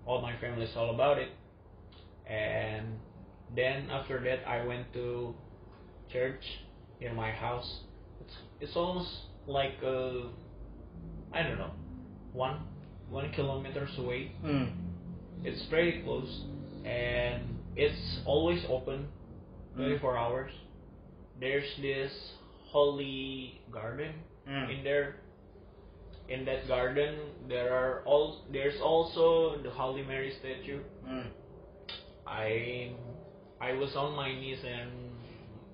Speaker 2: all my families, all about it, and then after that I went to church in my house. It's it's almost like uh, I don't know, one one kilometers away
Speaker 1: mm.
Speaker 2: it's very close and it's always open
Speaker 1: Mm.
Speaker 2: 24 hours there's this holy garden
Speaker 1: Mm.
Speaker 2: in there in that garden there are all there's also the holy mary statue
Speaker 1: Mm.
Speaker 2: i i was on my knees and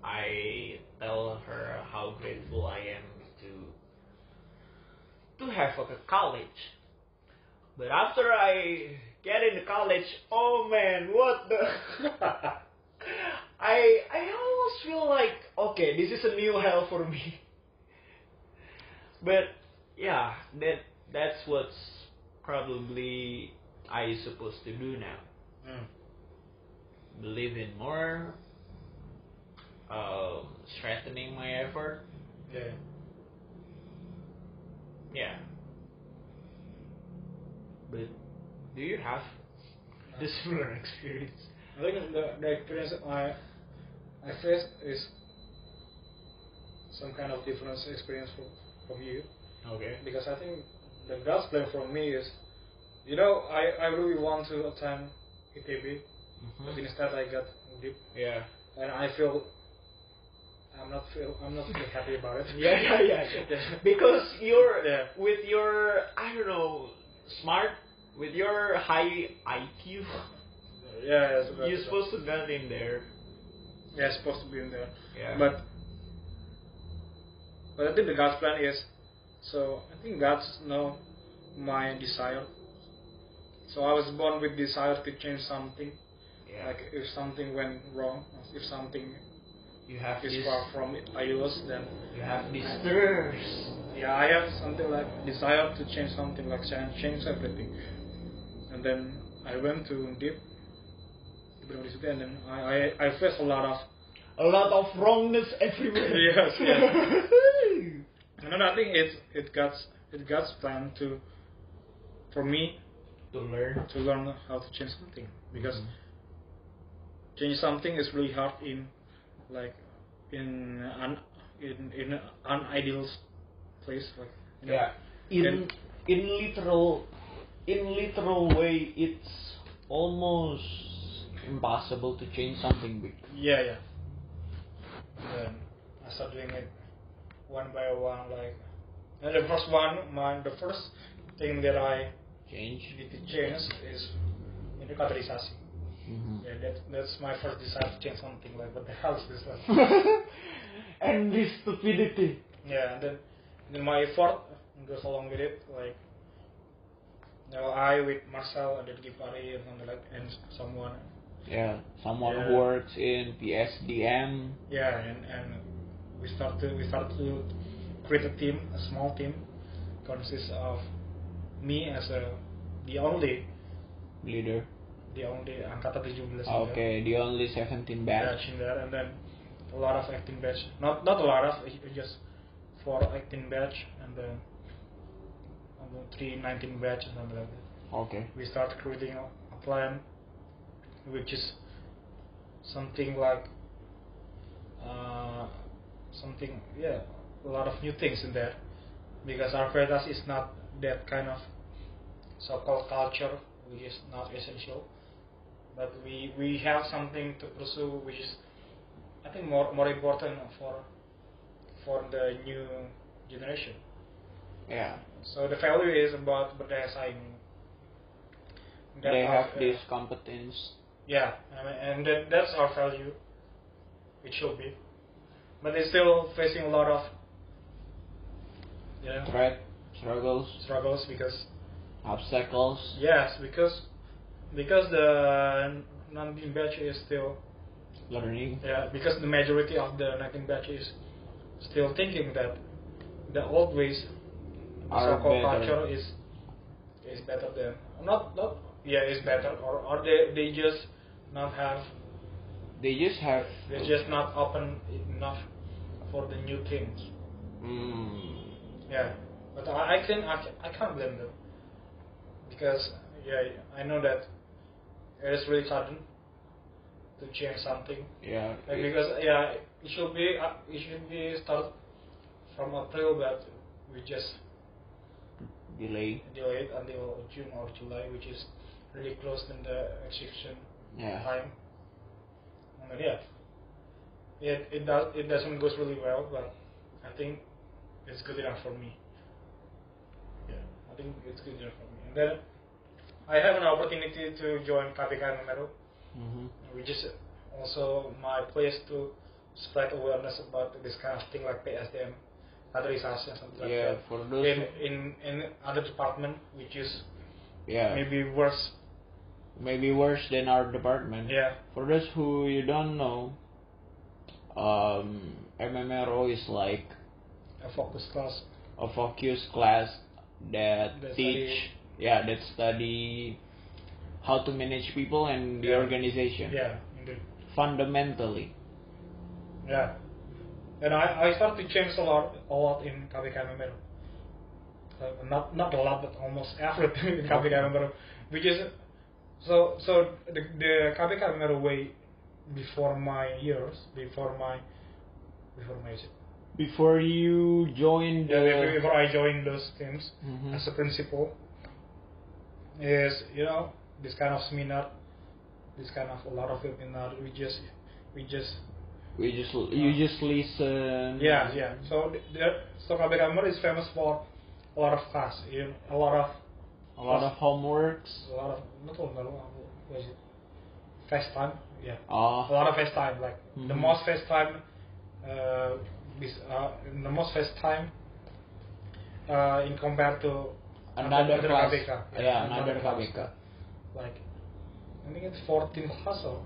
Speaker 2: i tell her how grateful I am to to have a college. But after I get into college, oh man, what the I I almost feel like okay, this is a new hell for me. But yeah, that that's what's probably I supposed to do now.
Speaker 1: Mm.
Speaker 2: Believe in more, um, strengthening my effort.
Speaker 1: Yeah.
Speaker 2: Yeah. But do you have the similar experience?
Speaker 1: I think the, the experience I I face is some kind of different experience from, from you
Speaker 2: Okay.
Speaker 1: because I think the God's plan for me is, you know, I, I really want to attend ITB, but
Speaker 2: Mhm.
Speaker 1: instead I got deep
Speaker 2: Yeah.
Speaker 1: and I feel I'm not feel I'm not really happy about it.
Speaker 2: Yeah, yeah, yeah. Because you're
Speaker 1: Yeah.
Speaker 2: with your I don't know smart with your high IQ,
Speaker 1: yeah, yeah, so
Speaker 2: you're
Speaker 1: that's-
Speaker 2: supposed to get in there.
Speaker 1: yeah, it's supposed to be in there.
Speaker 2: Yeah.
Speaker 1: But but I think the God's plan is so I think God's know my desire. So I was born with desire to change something.
Speaker 2: yeah.
Speaker 1: Like if something went wrong, if something
Speaker 2: you have
Speaker 1: is
Speaker 2: this
Speaker 1: far from it, I was then
Speaker 2: you have this thirst.
Speaker 1: yeah, I have something like desire to change something, like change, change everything. And then I went to deep, deep university, and then I, I, I faced a lot of
Speaker 2: A lot of wrongness everywhere.
Speaker 1: Yes, yes. And then I think it it got it got time to for me
Speaker 2: to learn.
Speaker 1: to learn how to change something because
Speaker 2: Mhm. Mm-hmm.
Speaker 1: change something is really hard in like in an in in an ideal s- place like you know.
Speaker 2: Yeah. In
Speaker 1: And-
Speaker 2: in literal in literal way it's almost impossible to change something big.
Speaker 1: yeah yeah then I start doing it one by one like and the first one my the first thing that I
Speaker 2: Change.
Speaker 1: need to change is kategorization.
Speaker 2: Mhm.
Speaker 1: Yeah, that, that's my first desire to change something like what the hell is this like?
Speaker 2: and this stupidity.
Speaker 1: yeah, and then then my effort goes along with it like you know, I with Marcel and then Gipari and something like and someone
Speaker 2: Yeah, someone who
Speaker 1: Yeah.
Speaker 2: works in PSDM.
Speaker 1: yeah and, and we start to we start to create a team a small team consists of me as a the only
Speaker 2: leader.
Speaker 1: the only angkatan 17 juga.
Speaker 2: Ah, Okay, the only 17 batch.
Speaker 1: batch in there, and then a lot of acting batch. Not not a lot of, it- it just four acting batch, and then and then three 19 batch, and then like that.
Speaker 2: Okay.
Speaker 1: we start creating a, a plan, which is something like uh, something yeah, a lot of new things in there, because Arvedas is not that kind of so-called culture which is not essential but we we have something to pursue which is I think more more important for for the new generation.
Speaker 2: Yeah.
Speaker 1: So the value is about berdaya saing. That
Speaker 2: they
Speaker 1: our-
Speaker 2: have this competence.
Speaker 1: Yeah, I mean, and that, that's our value. It should be, but they're still facing a lot of you know,
Speaker 2: Threat, struggles,
Speaker 1: struggles because
Speaker 2: obstacles.
Speaker 1: yes because because the non-being batch is still
Speaker 2: Learning.
Speaker 1: Yeah, because the majority of the 19 batch is still thinking that the old ways,
Speaker 2: Are
Speaker 1: so-called
Speaker 2: better.
Speaker 1: culture is is better than not not yeah is better or or they they just not have
Speaker 2: They just have.
Speaker 1: they're just not open enough for the new things.
Speaker 2: Mm,
Speaker 1: Yeah, but I, I can I, can- I can't blame them because yeah I know that it is really sudden to change something.
Speaker 2: yeah.
Speaker 1: Like
Speaker 2: it-
Speaker 1: because yeah, it should be uh, it should be start from April, but we just
Speaker 2: delay.
Speaker 1: delayed until June or July, which is really close to the execution
Speaker 2: Yeah.
Speaker 1: time. And then, yeah, it it does it doesn't goes really well, but I think it's good enough for me. Yeah, I think it's good enough for me. And then I have an opportunity to join KPK Numero
Speaker 2: Mm-hmm.
Speaker 1: which is also my place to spread awareness about this kind of thing like PSDM, otherization, something like
Speaker 2: Yeah,
Speaker 1: that.
Speaker 2: for those.
Speaker 1: In, in in other department which is
Speaker 2: yeah, maybe,
Speaker 1: maybe worse.
Speaker 2: worse than our department.
Speaker 1: Yeah.
Speaker 2: For those who you don't know, um, MMRO is like
Speaker 1: A focus class.
Speaker 2: a focus class that
Speaker 1: That
Speaker 2: teach,
Speaker 1: study-
Speaker 2: yeah, that study how to manage people and the
Speaker 1: Yeah.
Speaker 2: organization
Speaker 1: Yeah, indeed.
Speaker 2: fundamentally.
Speaker 1: Yeah. And I, I start to change a lot a lot in KBKMMR. Uh, not not a lot, but almost everything in KBKMMR. Which is so so the the KBKMMR way before my years, before my before my
Speaker 2: Before you join
Speaker 1: yeah, before-
Speaker 2: the
Speaker 1: before I joined those teams
Speaker 2: Mhm.
Speaker 1: as a principal is you know this kind of seminar, this kind of a lot of webinar. We just we just
Speaker 2: we just you just listen.
Speaker 1: Yeah, yeah. So th- there, so Kabegamur is famous for a lot of class, you know, a lot of
Speaker 2: a lot of homeworks.
Speaker 1: a lot of not a lot of what is it? Fast time, yeah. A
Speaker 2: Uh,
Speaker 1: lot of fast time, like the
Speaker 2: Mhm.
Speaker 1: most fast time, uh, is, uh, the most fast time, uh, in compared to
Speaker 2: another class.
Speaker 1: KBK.
Speaker 2: Yeah, another
Speaker 1: class.
Speaker 2: KBK.
Speaker 1: Like, I think it's 14 class or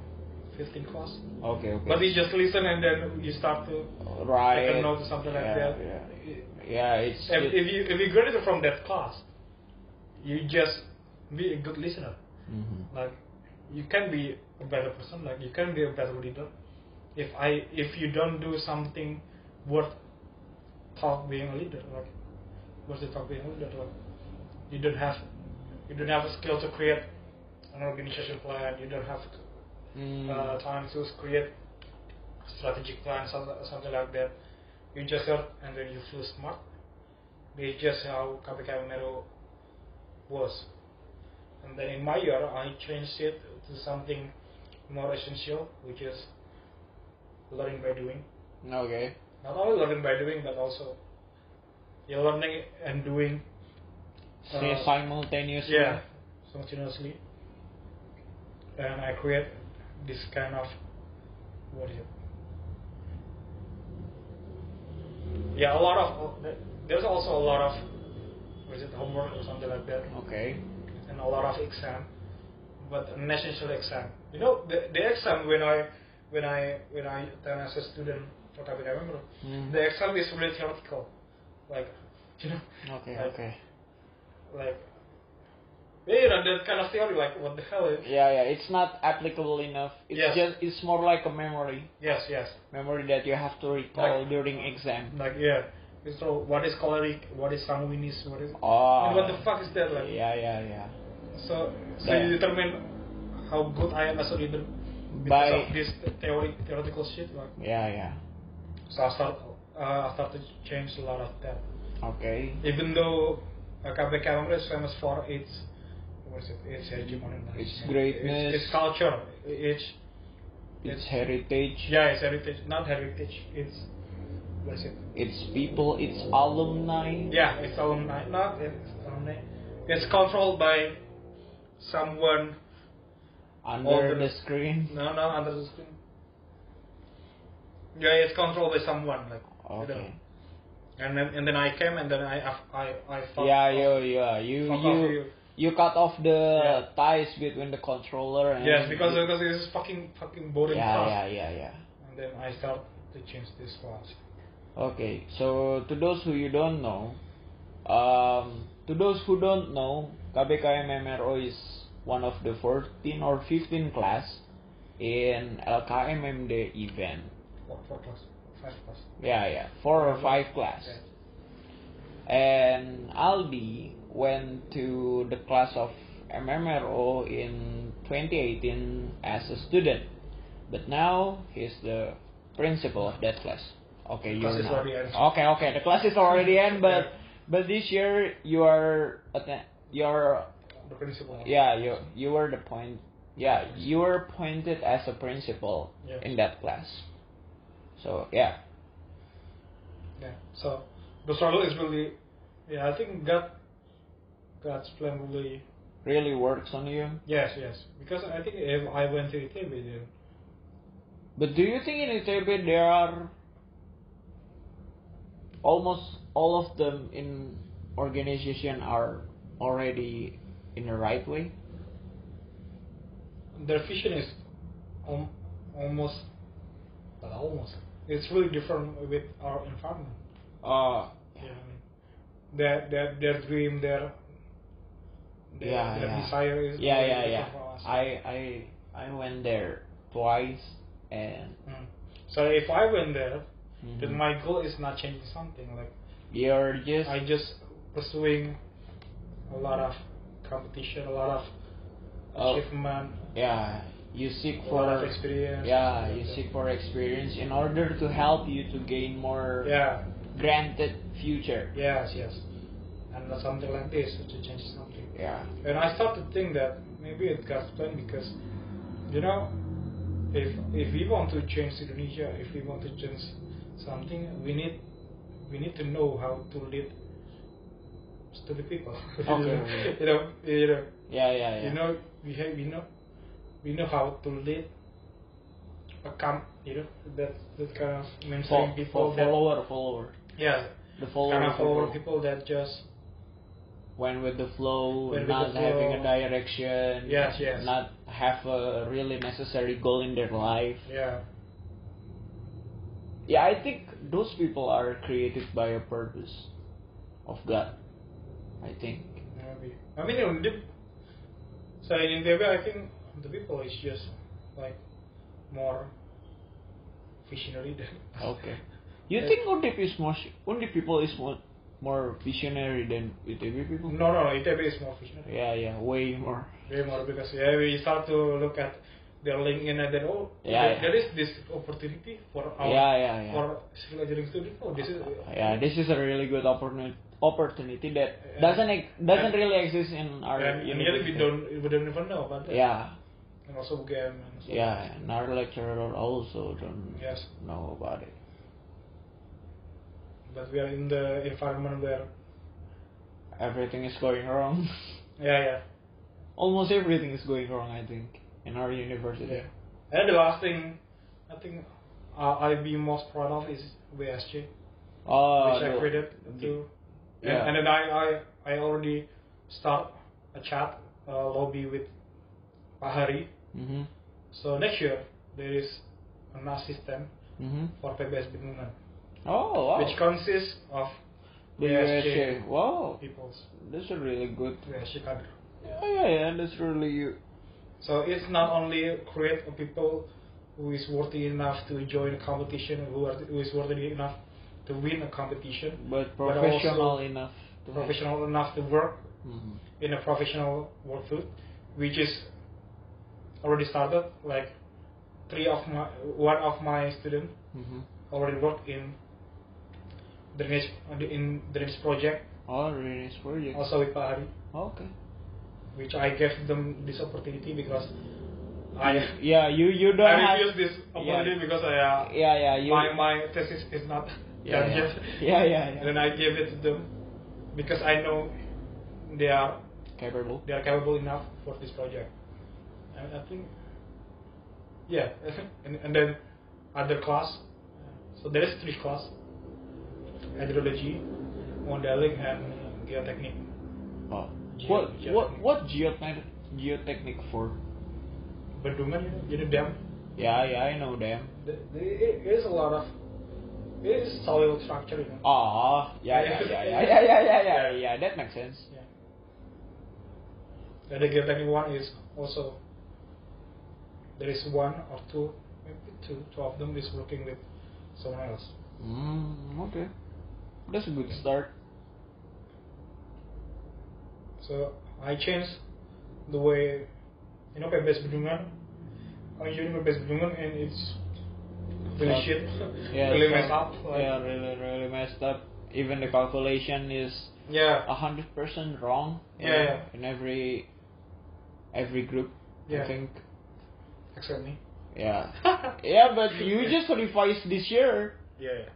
Speaker 1: 15 class.
Speaker 2: Okay, okay.
Speaker 1: But you just listen and then you start to
Speaker 2: right.
Speaker 1: take a note or something
Speaker 2: yeah,
Speaker 1: like that.
Speaker 2: Yeah,
Speaker 1: It-
Speaker 2: yeah it's
Speaker 1: if, if you if you graduate from that class, you just be a good listener.
Speaker 2: Mhm.
Speaker 1: Like you can be a better person. Like you can be a better leader. If I if you don't do something worth talk being a leader, like worth the talk being a leader, like you don't have you don't have a skill to create an organization plan. You don't have
Speaker 2: Mm.
Speaker 1: uh, time to create strategic plan, something, something like that. You just help and then you feel smart. This is just how Capital Mero was. And then in my year, I changed it to something more essential, which is learning by doing.
Speaker 2: okay.
Speaker 1: Not only learning by doing, but also you're learning and doing
Speaker 2: Say
Speaker 1: Uh,
Speaker 2: simultaneously.
Speaker 1: yeah, simultaneously. And I create this kind of what is it? Yeah, a lot of there's also a lot of what is it homework or something like that,
Speaker 2: Okay.
Speaker 1: and a lot of exam, but an essential exam. You know the the exam when I when I when I attend as a student for topic I remember
Speaker 2: Mhm.
Speaker 1: the exam is really theoretical, like you know
Speaker 2: Okay,
Speaker 1: like,
Speaker 2: okay.
Speaker 1: like yeah, you know that kind of theory like what the hell is
Speaker 2: Yeah, yeah. It's not applicable enough. It's
Speaker 1: Yes.
Speaker 2: just it's more like a memory,
Speaker 1: yes yes
Speaker 2: memory that you have to recall
Speaker 1: Like-
Speaker 2: during exam.
Speaker 1: like yeah so what is caloric what is sanguinis what is
Speaker 2: Oh.
Speaker 1: And what the fuck is that like
Speaker 2: Yeah, yeah, yeah.
Speaker 1: so so
Speaker 2: Yeah.
Speaker 1: you determine how good I am as a leader because
Speaker 2: By-
Speaker 1: of this theory theoretical shit like
Speaker 2: Yeah, yeah.
Speaker 1: so I start uh, I start to change a lot of that
Speaker 2: Okay.
Speaker 1: even though uh, Cafe Camembert is famous for its what is it its hegemony like,
Speaker 2: Its greatness.
Speaker 1: its, its culture its
Speaker 2: It's heritage.
Speaker 1: yeah it's heritage not heritage it's what is it
Speaker 2: It's people. It's alumni.
Speaker 1: Yeah, it's alumni. Not it's alumni. It's controlled by someone.
Speaker 2: Under
Speaker 1: Older.
Speaker 2: the screen.
Speaker 1: No, no, under the screen. Yeah, it's controlled by someone. Like you know.
Speaker 2: Okay.
Speaker 1: And then and then I came and then I I I, I fucked
Speaker 2: Yeah,
Speaker 1: off.
Speaker 2: yo, yeah. You,
Speaker 1: Fuck
Speaker 2: you,
Speaker 1: off, you.
Speaker 2: you cut off the
Speaker 1: Yeah.
Speaker 2: ties between the controller and.
Speaker 1: Yes, because because it's fucking fucking boring
Speaker 2: Yeah, yeah,
Speaker 1: class.
Speaker 2: yeah, yeah.
Speaker 1: And then I start to change this class.
Speaker 2: Okay, so to those who you don't know, um, to those who don't know, KBKMMRO is one of the 14 or 15 class in LKMMD event.
Speaker 1: What four class? Five class.
Speaker 2: Yeah, yeah, four or five class.
Speaker 1: Yeah.
Speaker 2: And Aldi went to the class of MMRO in 2018 as a student, but now he's the principal of that class. Okay,
Speaker 1: Class
Speaker 2: you're
Speaker 1: is
Speaker 2: not.
Speaker 1: already end.
Speaker 2: Okay, okay, the class is already end, but
Speaker 1: Yeah.
Speaker 2: but this year you are atten- you're
Speaker 1: The principal.
Speaker 2: yeah you you were the point yeah you were appointed as a principal
Speaker 1: Yeah.
Speaker 2: in that class. So yeah,
Speaker 1: Yeah. So the struggle is really. Yeah, I think God. God's plan really
Speaker 2: really works on you.
Speaker 1: Yes, yes. Because I think if I went to Italy, then
Speaker 2: But do you think in ITB there are almost all of them in organization are already in the right way?
Speaker 1: Their vision is al- almost, not almost. It's really different with our environment.
Speaker 2: Uh,
Speaker 1: Yeah. I mean, their their their dream, their their,
Speaker 2: yeah,
Speaker 1: their
Speaker 2: yeah.
Speaker 1: desire is
Speaker 2: yeah,
Speaker 1: really
Speaker 2: yeah, yeah.
Speaker 1: different from us.
Speaker 2: I, I, I went there twice and
Speaker 1: Mm. So if I went there,
Speaker 2: Mhm.
Speaker 1: Mm. then my goal is not changing something. Like
Speaker 2: you're just
Speaker 1: I just pursuing a lot of competition, a lot
Speaker 2: Oh.
Speaker 1: of achievement,
Speaker 2: yeah you seek
Speaker 1: a
Speaker 2: for
Speaker 1: lot of experience.
Speaker 2: yeah you
Speaker 1: Yeah.
Speaker 2: seek for experience in order to help you to gain more
Speaker 1: Yeah.
Speaker 2: granted future
Speaker 1: Yes. Yes. And not something like this to change something.
Speaker 2: yeah
Speaker 1: And I start to think that maybe it got done because, you know, if if we want to change Indonesia, if we want to change something, we need we need to know how to lead to the people.
Speaker 2: Okay.
Speaker 1: you know, you know,
Speaker 2: yeah yeah yeah
Speaker 1: you know, we have, we know, we know how to lead a camp. You know, that that kind of mentoring
Speaker 2: Fo-
Speaker 1: people
Speaker 2: fo-
Speaker 1: that
Speaker 2: follower follower
Speaker 1: yeah,
Speaker 2: the follower,
Speaker 1: kind of follower
Speaker 2: people.
Speaker 1: people that just
Speaker 2: went with the flow
Speaker 1: Went with
Speaker 2: not
Speaker 1: the
Speaker 2: having a
Speaker 1: flow.
Speaker 2: direction
Speaker 1: Yes, yes.
Speaker 2: not have a really necessary goal in their life
Speaker 1: yeah.
Speaker 2: yeah I think those people are created by a purpose of God I think
Speaker 1: Maybe. I mean, in the, so in the way I think the people is just like more visionary than
Speaker 2: Okay. You
Speaker 1: Uh,
Speaker 2: think Undip is more Undip people is more more visionary than ITB people?
Speaker 1: No, no, no. ITB is more visionary.
Speaker 2: Yeah, yeah, way more.
Speaker 1: Way more because yeah, we start to look at their LinkedIn and then oh,
Speaker 2: Yeah,
Speaker 1: there,
Speaker 2: yeah.
Speaker 1: there is this opportunity for our
Speaker 2: Yeah, yeah, yeah.
Speaker 1: for civil engineering student. Oh, this is
Speaker 2: yeah, this is a really good opportunity opportunity that
Speaker 1: Uh,
Speaker 2: doesn't ex- doesn't
Speaker 1: and-
Speaker 2: really exist in our
Speaker 1: and really
Speaker 2: university.
Speaker 1: we don't we don't even know about that.
Speaker 2: Yeah,
Speaker 1: And also game and so
Speaker 2: yeah, and our lecturer also don't
Speaker 1: Yes.
Speaker 2: know about it.
Speaker 1: But we are in the environment where
Speaker 2: Everything is going wrong.
Speaker 1: yeah, yeah.
Speaker 2: Almost everything is going wrong, I think, in our university.
Speaker 1: Yeah. And the last thing, I think uh, I'll be most proud of is VSJ,
Speaker 2: Oh,
Speaker 1: which I
Speaker 2: the-
Speaker 1: created
Speaker 2: the-
Speaker 1: too.
Speaker 2: yeah.
Speaker 1: And, and then I, I, I already start a chat uh, lobby with Pak Hari.
Speaker 2: Mhm.
Speaker 1: So next year there is an assistant
Speaker 2: Mhm.
Speaker 1: for PBS Bingungan,
Speaker 2: Oh, wow.
Speaker 1: which consists of
Speaker 2: The
Speaker 1: VSJ
Speaker 2: USA. Wow.
Speaker 1: people's
Speaker 2: That's a really good.
Speaker 1: VSJ cadre.
Speaker 2: Yeah, yeah, yeah. That's really.
Speaker 1: So it's not only create a people who is worthy enough to join a competition, who, are, who is worthy enough to win a competition,
Speaker 2: But
Speaker 1: But also
Speaker 2: professional enough. To
Speaker 1: professional enough to work
Speaker 2: hmm
Speaker 1: in a professional workload, which is already started. Like three of my one of my student
Speaker 2: hmm
Speaker 1: already worked in drainage in drainage project,
Speaker 2: Oh, really nice project.
Speaker 1: also with Pak Hari,
Speaker 2: Okay.
Speaker 1: which I gave them this opportunity because I
Speaker 2: Yeah, you you don't
Speaker 1: I
Speaker 2: have.
Speaker 1: refused this opportunity
Speaker 2: yeah.
Speaker 1: because I uh,
Speaker 2: Yeah, yeah. You.
Speaker 1: my my thesis is not
Speaker 2: yeah,
Speaker 1: done
Speaker 2: yeah.
Speaker 1: yet.
Speaker 2: yeah, yeah, yeah.
Speaker 1: And then I gave it to them because I know they are
Speaker 2: Capable.
Speaker 1: they are capable enough for this project. And I think, yeah, and, and then other class. So there is three class: hydrology, modeling, and geotechnic.
Speaker 2: Oh.
Speaker 1: Geo-
Speaker 2: What what
Speaker 1: geotechnic.
Speaker 2: what geotech geotechnic for?
Speaker 1: Bendungan, you know dam.
Speaker 2: Yeah, yeah. I know them.
Speaker 1: There there is a lot of there is soil structure. You know.
Speaker 2: Ah, yeah, yeah, yeah, yeah, yeah, yeah, yeah, yeah, yeah. That makes sense.
Speaker 1: Yeah. And the geotechnic one is also there is one or two, maybe two, two of them is working with someone else.
Speaker 2: Mm, okay. That's a good start.
Speaker 1: So I changed the way, you know, PBS Bedungan. I joined PBS Bedungan and it's really
Speaker 2: Not-
Speaker 1: shit,
Speaker 2: Yeah,
Speaker 1: really
Speaker 2: so-
Speaker 1: messed up. Like,
Speaker 2: yeah, really, really messed up. Even the calculation is
Speaker 1: yeah,
Speaker 2: a hundred percent wrong. in-
Speaker 1: Yeah, yeah.
Speaker 2: In every every group, I
Speaker 1: Yeah.
Speaker 2: think.
Speaker 1: except me.
Speaker 2: Yeah. yeah, but you just revise this year,
Speaker 1: Yeah, yeah.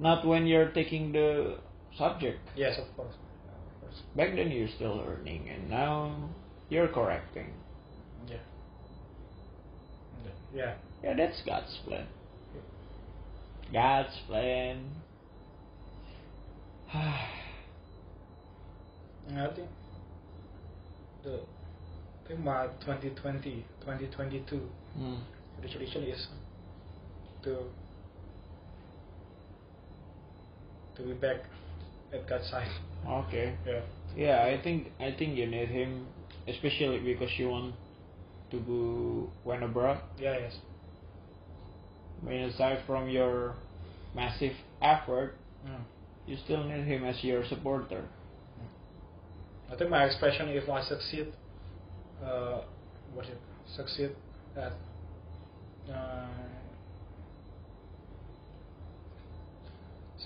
Speaker 2: not when you're taking the subject.
Speaker 1: Yes, of course. Of course.
Speaker 2: Back then you're still learning, and now you're correcting.
Speaker 1: Yeah. yeah. Yeah.
Speaker 2: Yeah, that's God's plan. God's plan. Hmm.
Speaker 1: And I think the I think by 2020, 2022,
Speaker 2: Hmm.
Speaker 1: the tradition is to to be back at God's side.
Speaker 2: Okay.
Speaker 1: Yeah.
Speaker 2: Yeah, I think I think you need him, especially because you want to go went abroad.
Speaker 1: Yeah. Yes.
Speaker 2: I mean, aside from your massive effort,
Speaker 1: Mm.
Speaker 2: you still need him as your supporter.
Speaker 1: I think my expression if I succeed, uh, what is it? Succeed at uh,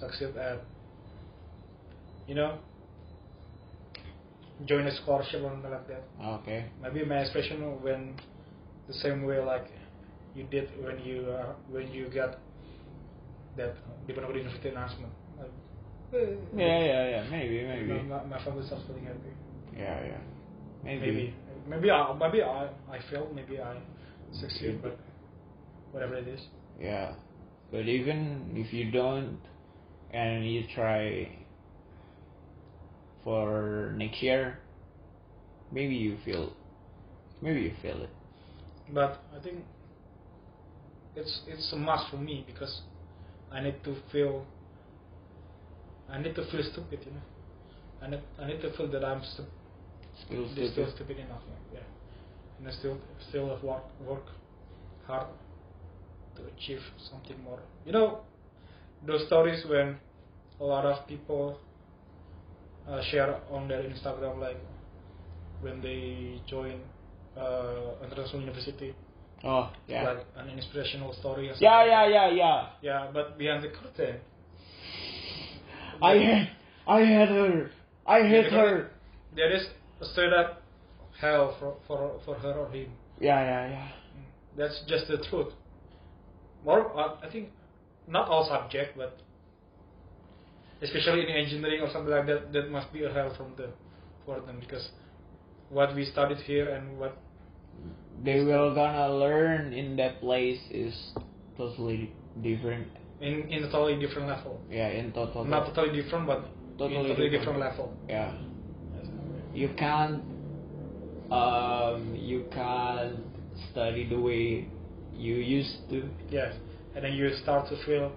Speaker 1: succeed at you know join a scholarship or something like that.
Speaker 2: Okay.
Speaker 1: Maybe my expression when the same way like you did when you uh, when you got that Diponegoro University announcement. Like,
Speaker 2: Yeah, yeah, yeah. Maybe, maybe.
Speaker 1: My, my, my family starts feeling happy.
Speaker 2: Yeah, yeah.
Speaker 1: Maybe. Maybe I maybe I I fail, maybe I succeed, but whatever it is.
Speaker 2: Yeah. But even if you don't and you try for next year, maybe you feel maybe you feel it.
Speaker 1: But I think it's it's a must for me because I need to feel I need to feel stupid, you know. I need I need to feel that I'm stu- still,
Speaker 2: Still stupid.
Speaker 1: still stupid enough, yeah. And I still still have work work hard to achieve something more. You know, those stories when a lot of people uh, share on their Instagram, like when they join uh, international university,
Speaker 2: Oh, yeah.
Speaker 1: like uh, an inspirational story. Or
Speaker 2: yeah,
Speaker 1: something.
Speaker 2: yeah, yeah, yeah.
Speaker 1: yeah. But behind the curtain,
Speaker 2: I hate I hate her. I hate her.
Speaker 1: There is a straight up hell for for for her or him.
Speaker 2: Yeah, yeah, yeah.
Speaker 1: That's just the truth. More, uh, I think, not all subject, but especially in engineering or something like that, that must be a hell from the for them because what we studied here and what
Speaker 2: They will gonna learn in that place is totally different.
Speaker 1: in in a totally different level.
Speaker 2: Yeah, in total.
Speaker 1: Not totally different, but in
Speaker 2: uh, Totally
Speaker 1: totally different
Speaker 2: different.
Speaker 1: level.
Speaker 2: Yeah. you can't um, you can't study the way you used to
Speaker 1: Yes, and then you start to feel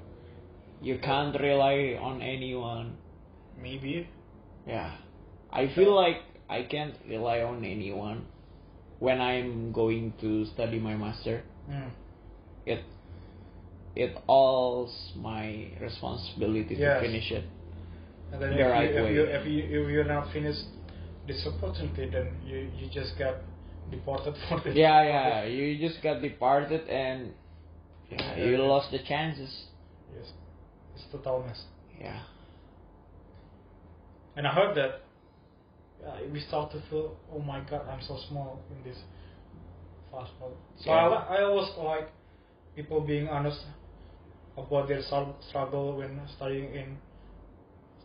Speaker 2: you can't rely on anyone
Speaker 1: maybe
Speaker 2: yeah i feel like i can't rely on anyone when i'm going to study my master
Speaker 1: mm,
Speaker 2: it it all's my responsibility
Speaker 1: Yes.
Speaker 2: to finish it
Speaker 1: and then
Speaker 2: The
Speaker 1: if, you,
Speaker 2: right
Speaker 1: if
Speaker 2: way.
Speaker 1: you if you if you're not finished this opportunity, then you you just get deported for this.
Speaker 2: yeah yeah you just got departed and yeah, you lost the chances
Speaker 1: Yes, it's total mess.
Speaker 2: yeah
Speaker 1: And I heard that uh, we start to feel, oh my god, I'm so small in this fast world. So I,
Speaker 2: Yeah.
Speaker 1: li- I always like people being honest about their sor- struggle when studying in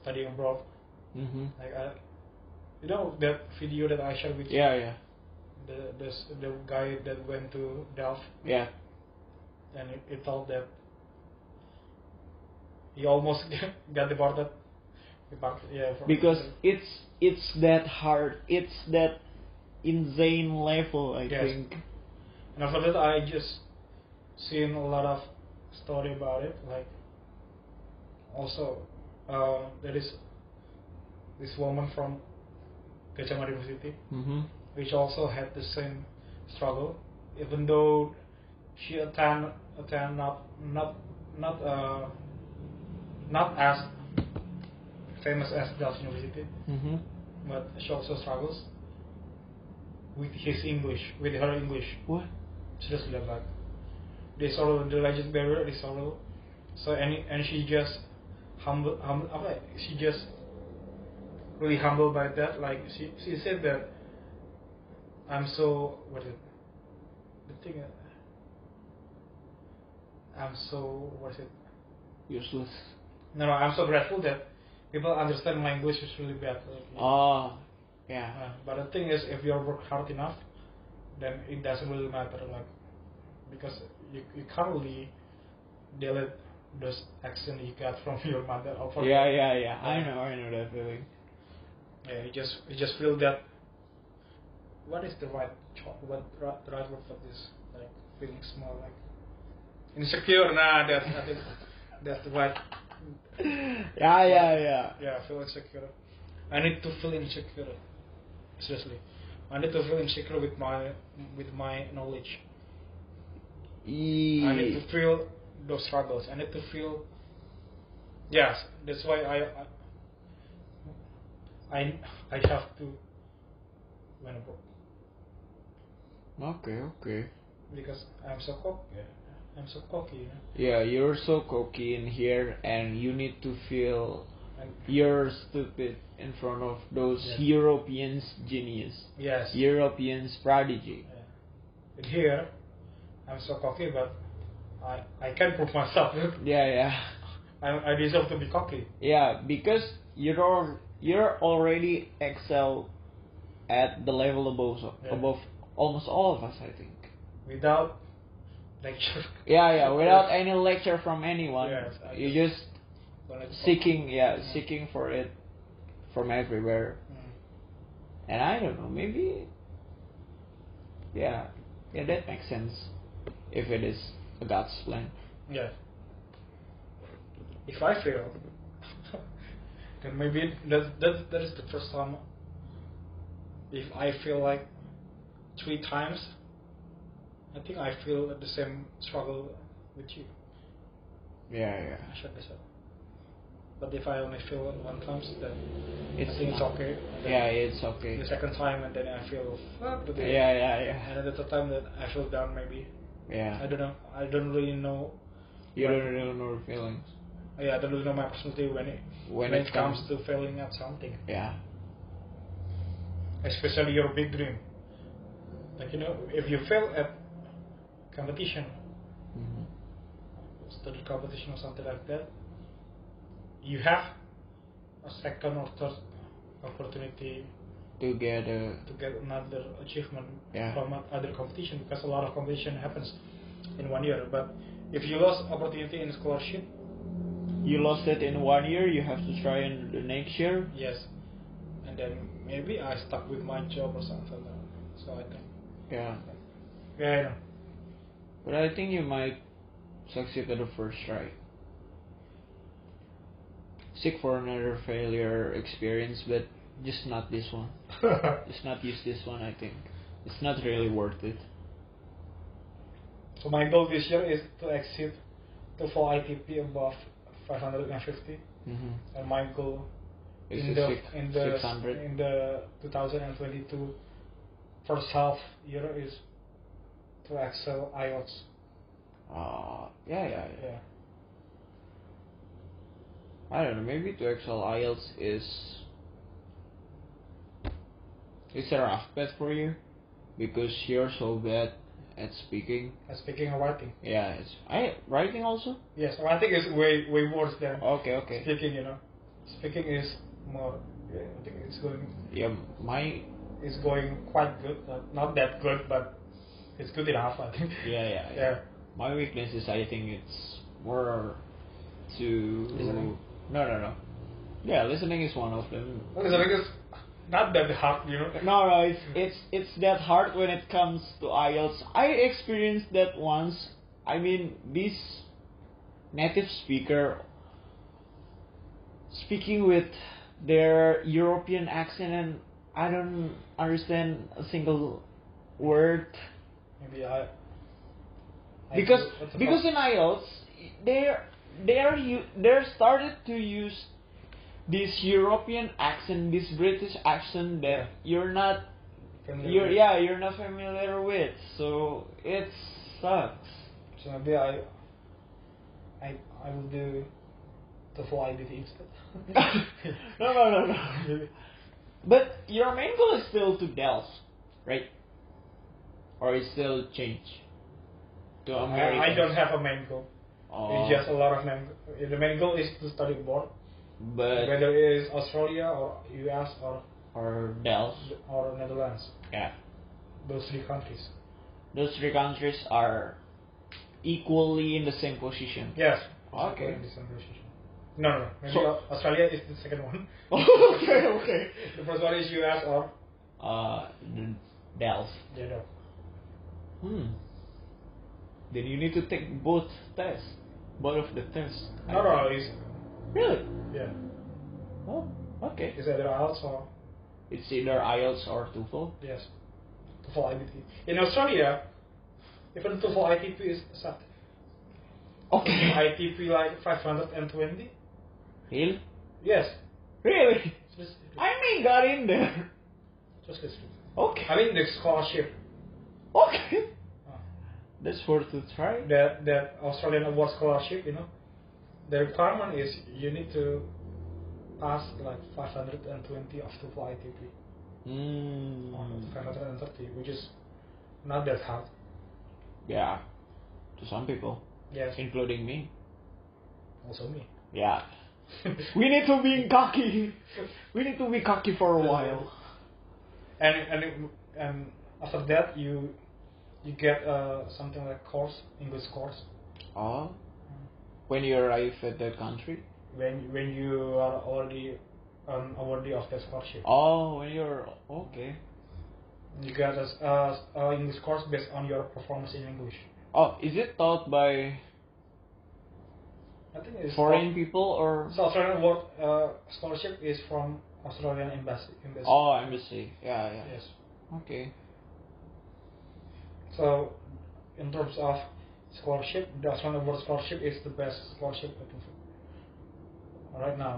Speaker 1: studying abroad.
Speaker 2: mm-hmm.
Speaker 1: Like I, you know that video that I shared with
Speaker 2: yeah
Speaker 1: you,
Speaker 2: yeah
Speaker 1: the this, the guy that went to Delft
Speaker 2: yeah
Speaker 1: and it, it told that he almost got deported. Depart- yeah, from-
Speaker 2: because it's it's that hard it's that insane level i
Speaker 1: Yes.
Speaker 2: think
Speaker 1: And after that, I just seen a lot of story about it. Like, also, uh, there is this woman from Gajah Mada University,
Speaker 2: mm-hmm.
Speaker 1: which also had the same struggle, even though she attend attend not not not uh, not as famous as Delft University,
Speaker 2: Mm-hmm.
Speaker 1: but she also struggles with his English, with her English
Speaker 2: what
Speaker 1: seriously like they sort of the religious barrier they sort of so and and she just humble humble apa ya, she just really humble by that like she she said that I'm so what is it the thing is, I'm so what is it
Speaker 2: useless
Speaker 1: no no I'm so grateful that people understand my English is really bad like,
Speaker 2: oh yeah
Speaker 1: uh, but the thing is, if you work hard enough, then it doesn't really matter like because you, you can't really delete those accent you got from your mother or from
Speaker 2: Yeah, yeah, yeah. I know, I know that feeling.
Speaker 1: Yeah, you just you just feel that. What is the right cho- what right, the right word for this? Like feeling small, like insecure. Nah, that's I think that's the right.
Speaker 2: Ah, yeah, yeah, yeah.
Speaker 1: Yeah, feel insecure. I need to feel insecure. Seriously, I need to feel insecure with my with my knowledge. I need to feel those struggles. I need to feel. Yes, that's why I. I I, I have to. When I broke.
Speaker 2: Okay, okay.
Speaker 1: because I'm so cocky. I'm so cocky, you know.
Speaker 2: Yeah, you're so cocky in here, and you need to feel
Speaker 1: And
Speaker 2: you're stupid in front of those
Speaker 1: Yeah.
Speaker 2: Europeans genius,
Speaker 1: yes,
Speaker 2: Europeans prodigy.
Speaker 1: yeah. in here, I'm so cocky, but I I can prove myself.
Speaker 2: Yeah, yeah,
Speaker 1: I I deserve to be cocky.
Speaker 2: yeah. Because you're al- you're already excel at the level above
Speaker 1: Yeah.
Speaker 2: above almost all of us, I think.
Speaker 1: Without lecture.
Speaker 2: Yeah, yeah. Without any lecture from anyone,
Speaker 1: Yes, I
Speaker 2: you
Speaker 1: just-
Speaker 2: just
Speaker 1: When I talk.
Speaker 2: seeking, yeah,
Speaker 1: Yeah.
Speaker 2: seeking for it from everywhere.
Speaker 1: Mm.
Speaker 2: And I don't know, maybe. Yeah, yeah, that makes sense. If it is a God's plan.
Speaker 1: Yeah. If I fail, then maybe that that that is the first time. If I feel like three times, I think I feel the same struggle with you.
Speaker 2: Yeah,
Speaker 1: I shut this up. But if I only feel it one time, then
Speaker 2: It's
Speaker 1: I think it's
Speaker 2: not-
Speaker 1: okay. And then
Speaker 2: Yeah, it's okay.
Speaker 1: The second time, and then I feel fuck
Speaker 2: Yeah,
Speaker 1: today.
Speaker 2: yeah,
Speaker 1: And
Speaker 2: yeah.
Speaker 1: then the third time that I feel down, maybe I
Speaker 2: Yeah.
Speaker 1: don't know. I don't really know.
Speaker 2: You don't really know the feelings
Speaker 1: Yeah, I don't really know my personality when it
Speaker 2: when,
Speaker 1: it comes to failing at something,
Speaker 2: Yeah.
Speaker 1: especially your big dream. Like you know, if you fail at competition,
Speaker 2: Mhm.
Speaker 1: study competition or something like that, you have a second or third opportunity
Speaker 2: To get a.
Speaker 1: to get another achievement
Speaker 2: Yeah.
Speaker 1: from other competition because a lot of competition happens in one year. But if you lost opportunity in scholarship,
Speaker 2: You lost it in one year. You have to try in the next year.
Speaker 1: yes, and then maybe I stuck with my job or something. So I think,
Speaker 2: Yeah.
Speaker 1: yeah, I know.
Speaker 2: But I think you might succeed at the first try. Seek for another failure experience, but just not this one. Just not use this one, I think. It's not really worth it.
Speaker 1: So my goal this year is to exceed to fall ITP above 550,
Speaker 2: Mm-hmm.
Speaker 1: and my goal
Speaker 2: It's
Speaker 1: in
Speaker 2: a
Speaker 1: the
Speaker 2: six,
Speaker 1: in the
Speaker 2: 600.
Speaker 1: in the 2022 first half year is to excel IELTS.
Speaker 2: Ah, yeah, yeah, yeah.
Speaker 1: Yeah.
Speaker 2: I don't know. Maybe to excel IELTS is it's a rough bet for you because you're so bad at speaking.
Speaker 1: And speaking of writing,
Speaker 2: Yeah, it's I writing also.
Speaker 1: yes, writing is way way worse than
Speaker 2: Okay, okay.
Speaker 1: speaking. You know, speaking is more. I think it's going
Speaker 2: Yeah, my
Speaker 1: it's going quite good, but not that good, but it's good enough. I think.
Speaker 2: Yeah, yeah, yeah.
Speaker 1: Yeah.
Speaker 2: my weakness is I think it's more to
Speaker 1: Listening?
Speaker 2: no no no. Yeah, listening is one of them.
Speaker 1: Okay, so I guess not that hard, you know.
Speaker 2: No, no, it's it's it's that hard when it comes to IELTS. I experienced that once. I mean, this native speaker speaking with their European accent, and I don't understand a single word.
Speaker 1: Maybe I. I
Speaker 2: because
Speaker 1: do- what's the
Speaker 2: because in
Speaker 1: problem?
Speaker 2: IELTS they're they're u- they're started to use this European accent, this British accent that you're not
Speaker 1: Familiar
Speaker 2: you're
Speaker 1: with-
Speaker 2: yeah you're not familiar with, so it sucks.
Speaker 1: So maybe I. I I will do the full IBT instead.
Speaker 2: No, no, no, no.
Speaker 1: Maybe.
Speaker 2: But your main goal is still to delve, right? Or is still change to America.
Speaker 1: I, I don't have a main goal.
Speaker 2: Oh,
Speaker 1: It's just a lot of main. The main goal is to study abroad,
Speaker 2: but
Speaker 1: whether it is Australia or US or
Speaker 2: or delve.
Speaker 1: or Netherlands,
Speaker 2: Yeah.
Speaker 1: those three countries.
Speaker 2: Those three countries are equally in the same position.
Speaker 1: Yes.
Speaker 2: Okay.
Speaker 1: In this conversation. No, no, no. Maybe
Speaker 2: So-
Speaker 1: Australia is the second one.
Speaker 2: okay, okay.
Speaker 1: The first one is US or
Speaker 2: Uh, the Dells.
Speaker 1: Jeddah.
Speaker 2: Hmm. Then you need to take both tests, both of the tests. I
Speaker 1: No, no,
Speaker 2: think.
Speaker 1: it's
Speaker 2: Really?
Speaker 1: yeah.
Speaker 2: Oh, okay.
Speaker 1: Is either IELTS or
Speaker 2: It's either IELTS or TOEFL.
Speaker 1: yes, TOEFL IBT. In Australia, even TOEFL ITP is suck.
Speaker 2: Okay.
Speaker 1: ITP like 520.
Speaker 2: Really?
Speaker 1: Yes.
Speaker 2: Really?
Speaker 1: Just,
Speaker 2: I mean, got in there.
Speaker 1: just listen.
Speaker 2: Okay.
Speaker 1: I mean the scholarship
Speaker 2: Okay.
Speaker 1: uh,
Speaker 2: That's worth a try.
Speaker 1: that that Australian award scholarship, you know, the requirement is you need to pass like 520 of TOEFL ITP. or
Speaker 2: Mm.
Speaker 1: 530, which is not that hard.
Speaker 2: Yeah. To some people,
Speaker 1: Yes.
Speaker 2: including me.
Speaker 1: Also me.
Speaker 2: Yeah. We need to be cocky. We need to be cocky for a while.
Speaker 1: and and it- and after that you you get uh, something like course English course
Speaker 2: Oh. When you arrive at the country.
Speaker 1: when when you are already um, awardee of the scholarship.
Speaker 2: Oh, when you're okay.
Speaker 1: You get a, s- uh, s- uh, English course based on your performance in English.
Speaker 2: Oh, is it taught by
Speaker 1: I think it's
Speaker 2: foreign people or?
Speaker 1: So Australian award uh, scholarship is from Australian embassy. embassy.
Speaker 2: Oh, embassy. Yeah, yeah.
Speaker 1: Yes.
Speaker 2: Okay.
Speaker 1: So, in terms of scholarship, the Australian Award Scholarship is the best scholarship I can find. right now.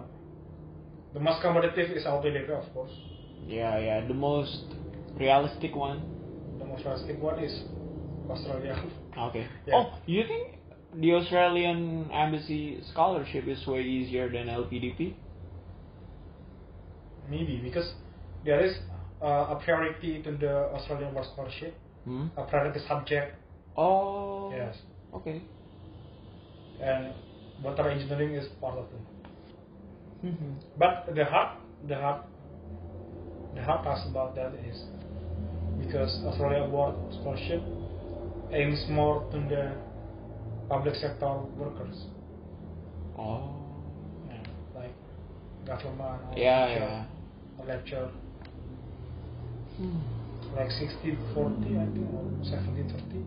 Speaker 1: The most competitive is LPDP, of course.
Speaker 2: Yeah, yeah. The most realistic one.
Speaker 1: The most realistic one is Australia.
Speaker 2: Okay.
Speaker 1: Yeah.
Speaker 2: Oh, you think the Australian embassy scholarship is way easier than LPDP?
Speaker 1: Maybe because there is uh, a priority to the Australian Award Scholarship,
Speaker 2: Hmm.
Speaker 1: a priority subject,
Speaker 2: Oh.
Speaker 1: Yes.
Speaker 2: Okay.
Speaker 1: and water engineering is part of it. Mm-hmm. But the hard, the hard, the hard task about that is because Australia Award Scholarship aims more to the public sector workers,
Speaker 2: Oh.
Speaker 1: like government, or
Speaker 2: Yeah,
Speaker 1: teacher,
Speaker 2: yeah.
Speaker 1: or lecturer,
Speaker 2: Hmm.
Speaker 1: like 60 40, I think, or 70 30.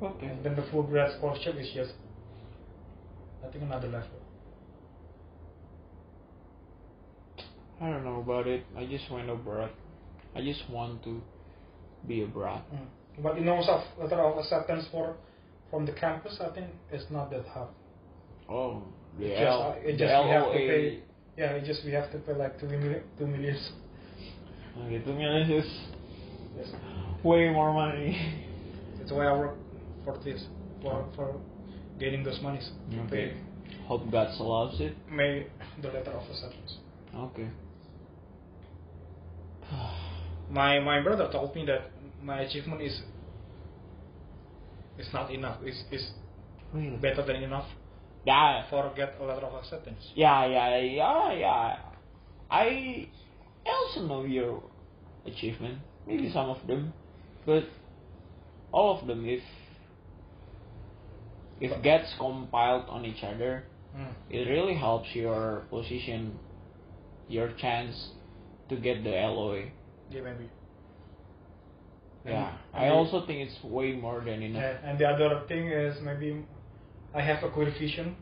Speaker 2: Okay.
Speaker 1: And then the Fulbright Scholarship is just, I think, another level.
Speaker 2: I don't know about it. I just went abroad. I just want to be abroad.
Speaker 1: Mm.
Speaker 2: Hmm.
Speaker 1: But in terms of letter of acceptance for from the campus, I think it's not that hard.
Speaker 2: Oh, the
Speaker 1: It
Speaker 2: L,
Speaker 1: just, uh, it
Speaker 2: the
Speaker 1: just we have to pay.
Speaker 2: LOA.
Speaker 1: Yeah, it just we have to pay like two million, two millions.
Speaker 2: Nah, Gitu kan, this is
Speaker 1: Yes.
Speaker 2: way more money.
Speaker 1: That's why I work for this, for for getting those monies. to
Speaker 2: Okay. Hope God allows it.
Speaker 1: Pay, may the letter of acceptance.
Speaker 2: Okay.
Speaker 1: My my brother told me that my achievement is is not enough. Is is
Speaker 2: Really?
Speaker 1: better than enough
Speaker 2: Yeah.
Speaker 1: for get a letter of acceptance.
Speaker 2: Yeah, yeah, yeah, yeah. I also know your achievement. Maybe some of them, but all of them, if if gets compiled on each other,
Speaker 1: Mm.
Speaker 2: it really helps your position, your chance to get the LOA.
Speaker 1: Yeah, maybe.
Speaker 2: Yeah,
Speaker 1: And-
Speaker 2: I also think it's way more than enough.
Speaker 1: Yeah, and the other thing is maybe I have a coefficient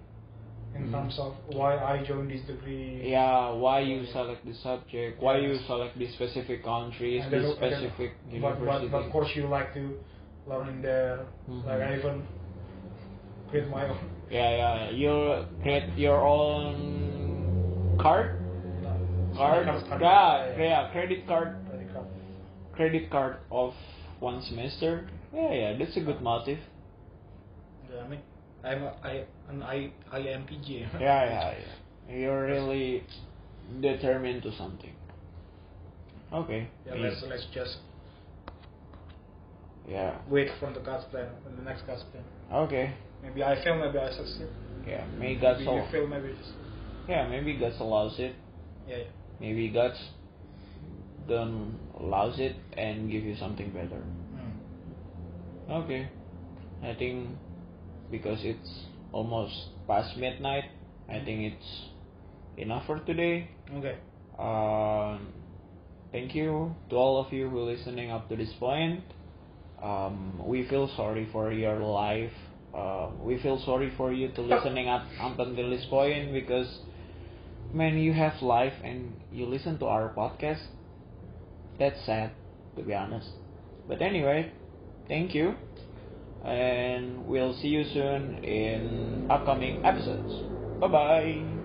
Speaker 1: in
Speaker 2: Mm.
Speaker 1: terms of why I joined this degree.
Speaker 2: Yeah, why you select this subject? Why you
Speaker 1: Yes.
Speaker 2: select this specific countries,
Speaker 1: And then-
Speaker 2: this
Speaker 1: and then
Speaker 2: specific
Speaker 1: what,
Speaker 2: university?
Speaker 1: what, what course you like to learn in there.
Speaker 2: Mhm.
Speaker 1: Like I even create my own.
Speaker 2: Yeah, yeah. You create your own card, card,
Speaker 1: Credit card.
Speaker 2: yeah, yeah, credit card,
Speaker 1: Credit card.
Speaker 2: credit card of one semester. Yeah, yeah, that's a good motive.
Speaker 1: Yeah, I mean, I'm a, I, an I, IMPG.
Speaker 2: Yeah, yeah, yeah. You're really determined to something. Okay.
Speaker 1: Yeah, let's, let's just
Speaker 2: Yeah.
Speaker 1: wait for the God's plan, for the next God's plan.
Speaker 2: Okay.
Speaker 1: Maybe I fail, maybe I succeed.
Speaker 2: Yeah. Maybe God
Speaker 1: maybe you
Speaker 2: all.
Speaker 1: fail, maybe just,
Speaker 2: Yeah, maybe God allows it.
Speaker 1: yeah, yeah.
Speaker 2: Maybe God don't allows it and give you something better.
Speaker 1: Mm.
Speaker 2: Okay. I think because it's almost past midnight, I think it's enough for today.
Speaker 1: Mm. Okay.
Speaker 2: Um, thank you to all of you who are listening up to this point. Um, we feel sorry for your life. Uh, we feel sorry for you to listening up, up until this point because, man, you have life and you listen to our podcast. That's sad, to be honest. But anyway, thank you, and we'll see you soon in upcoming episodes. Bye bye.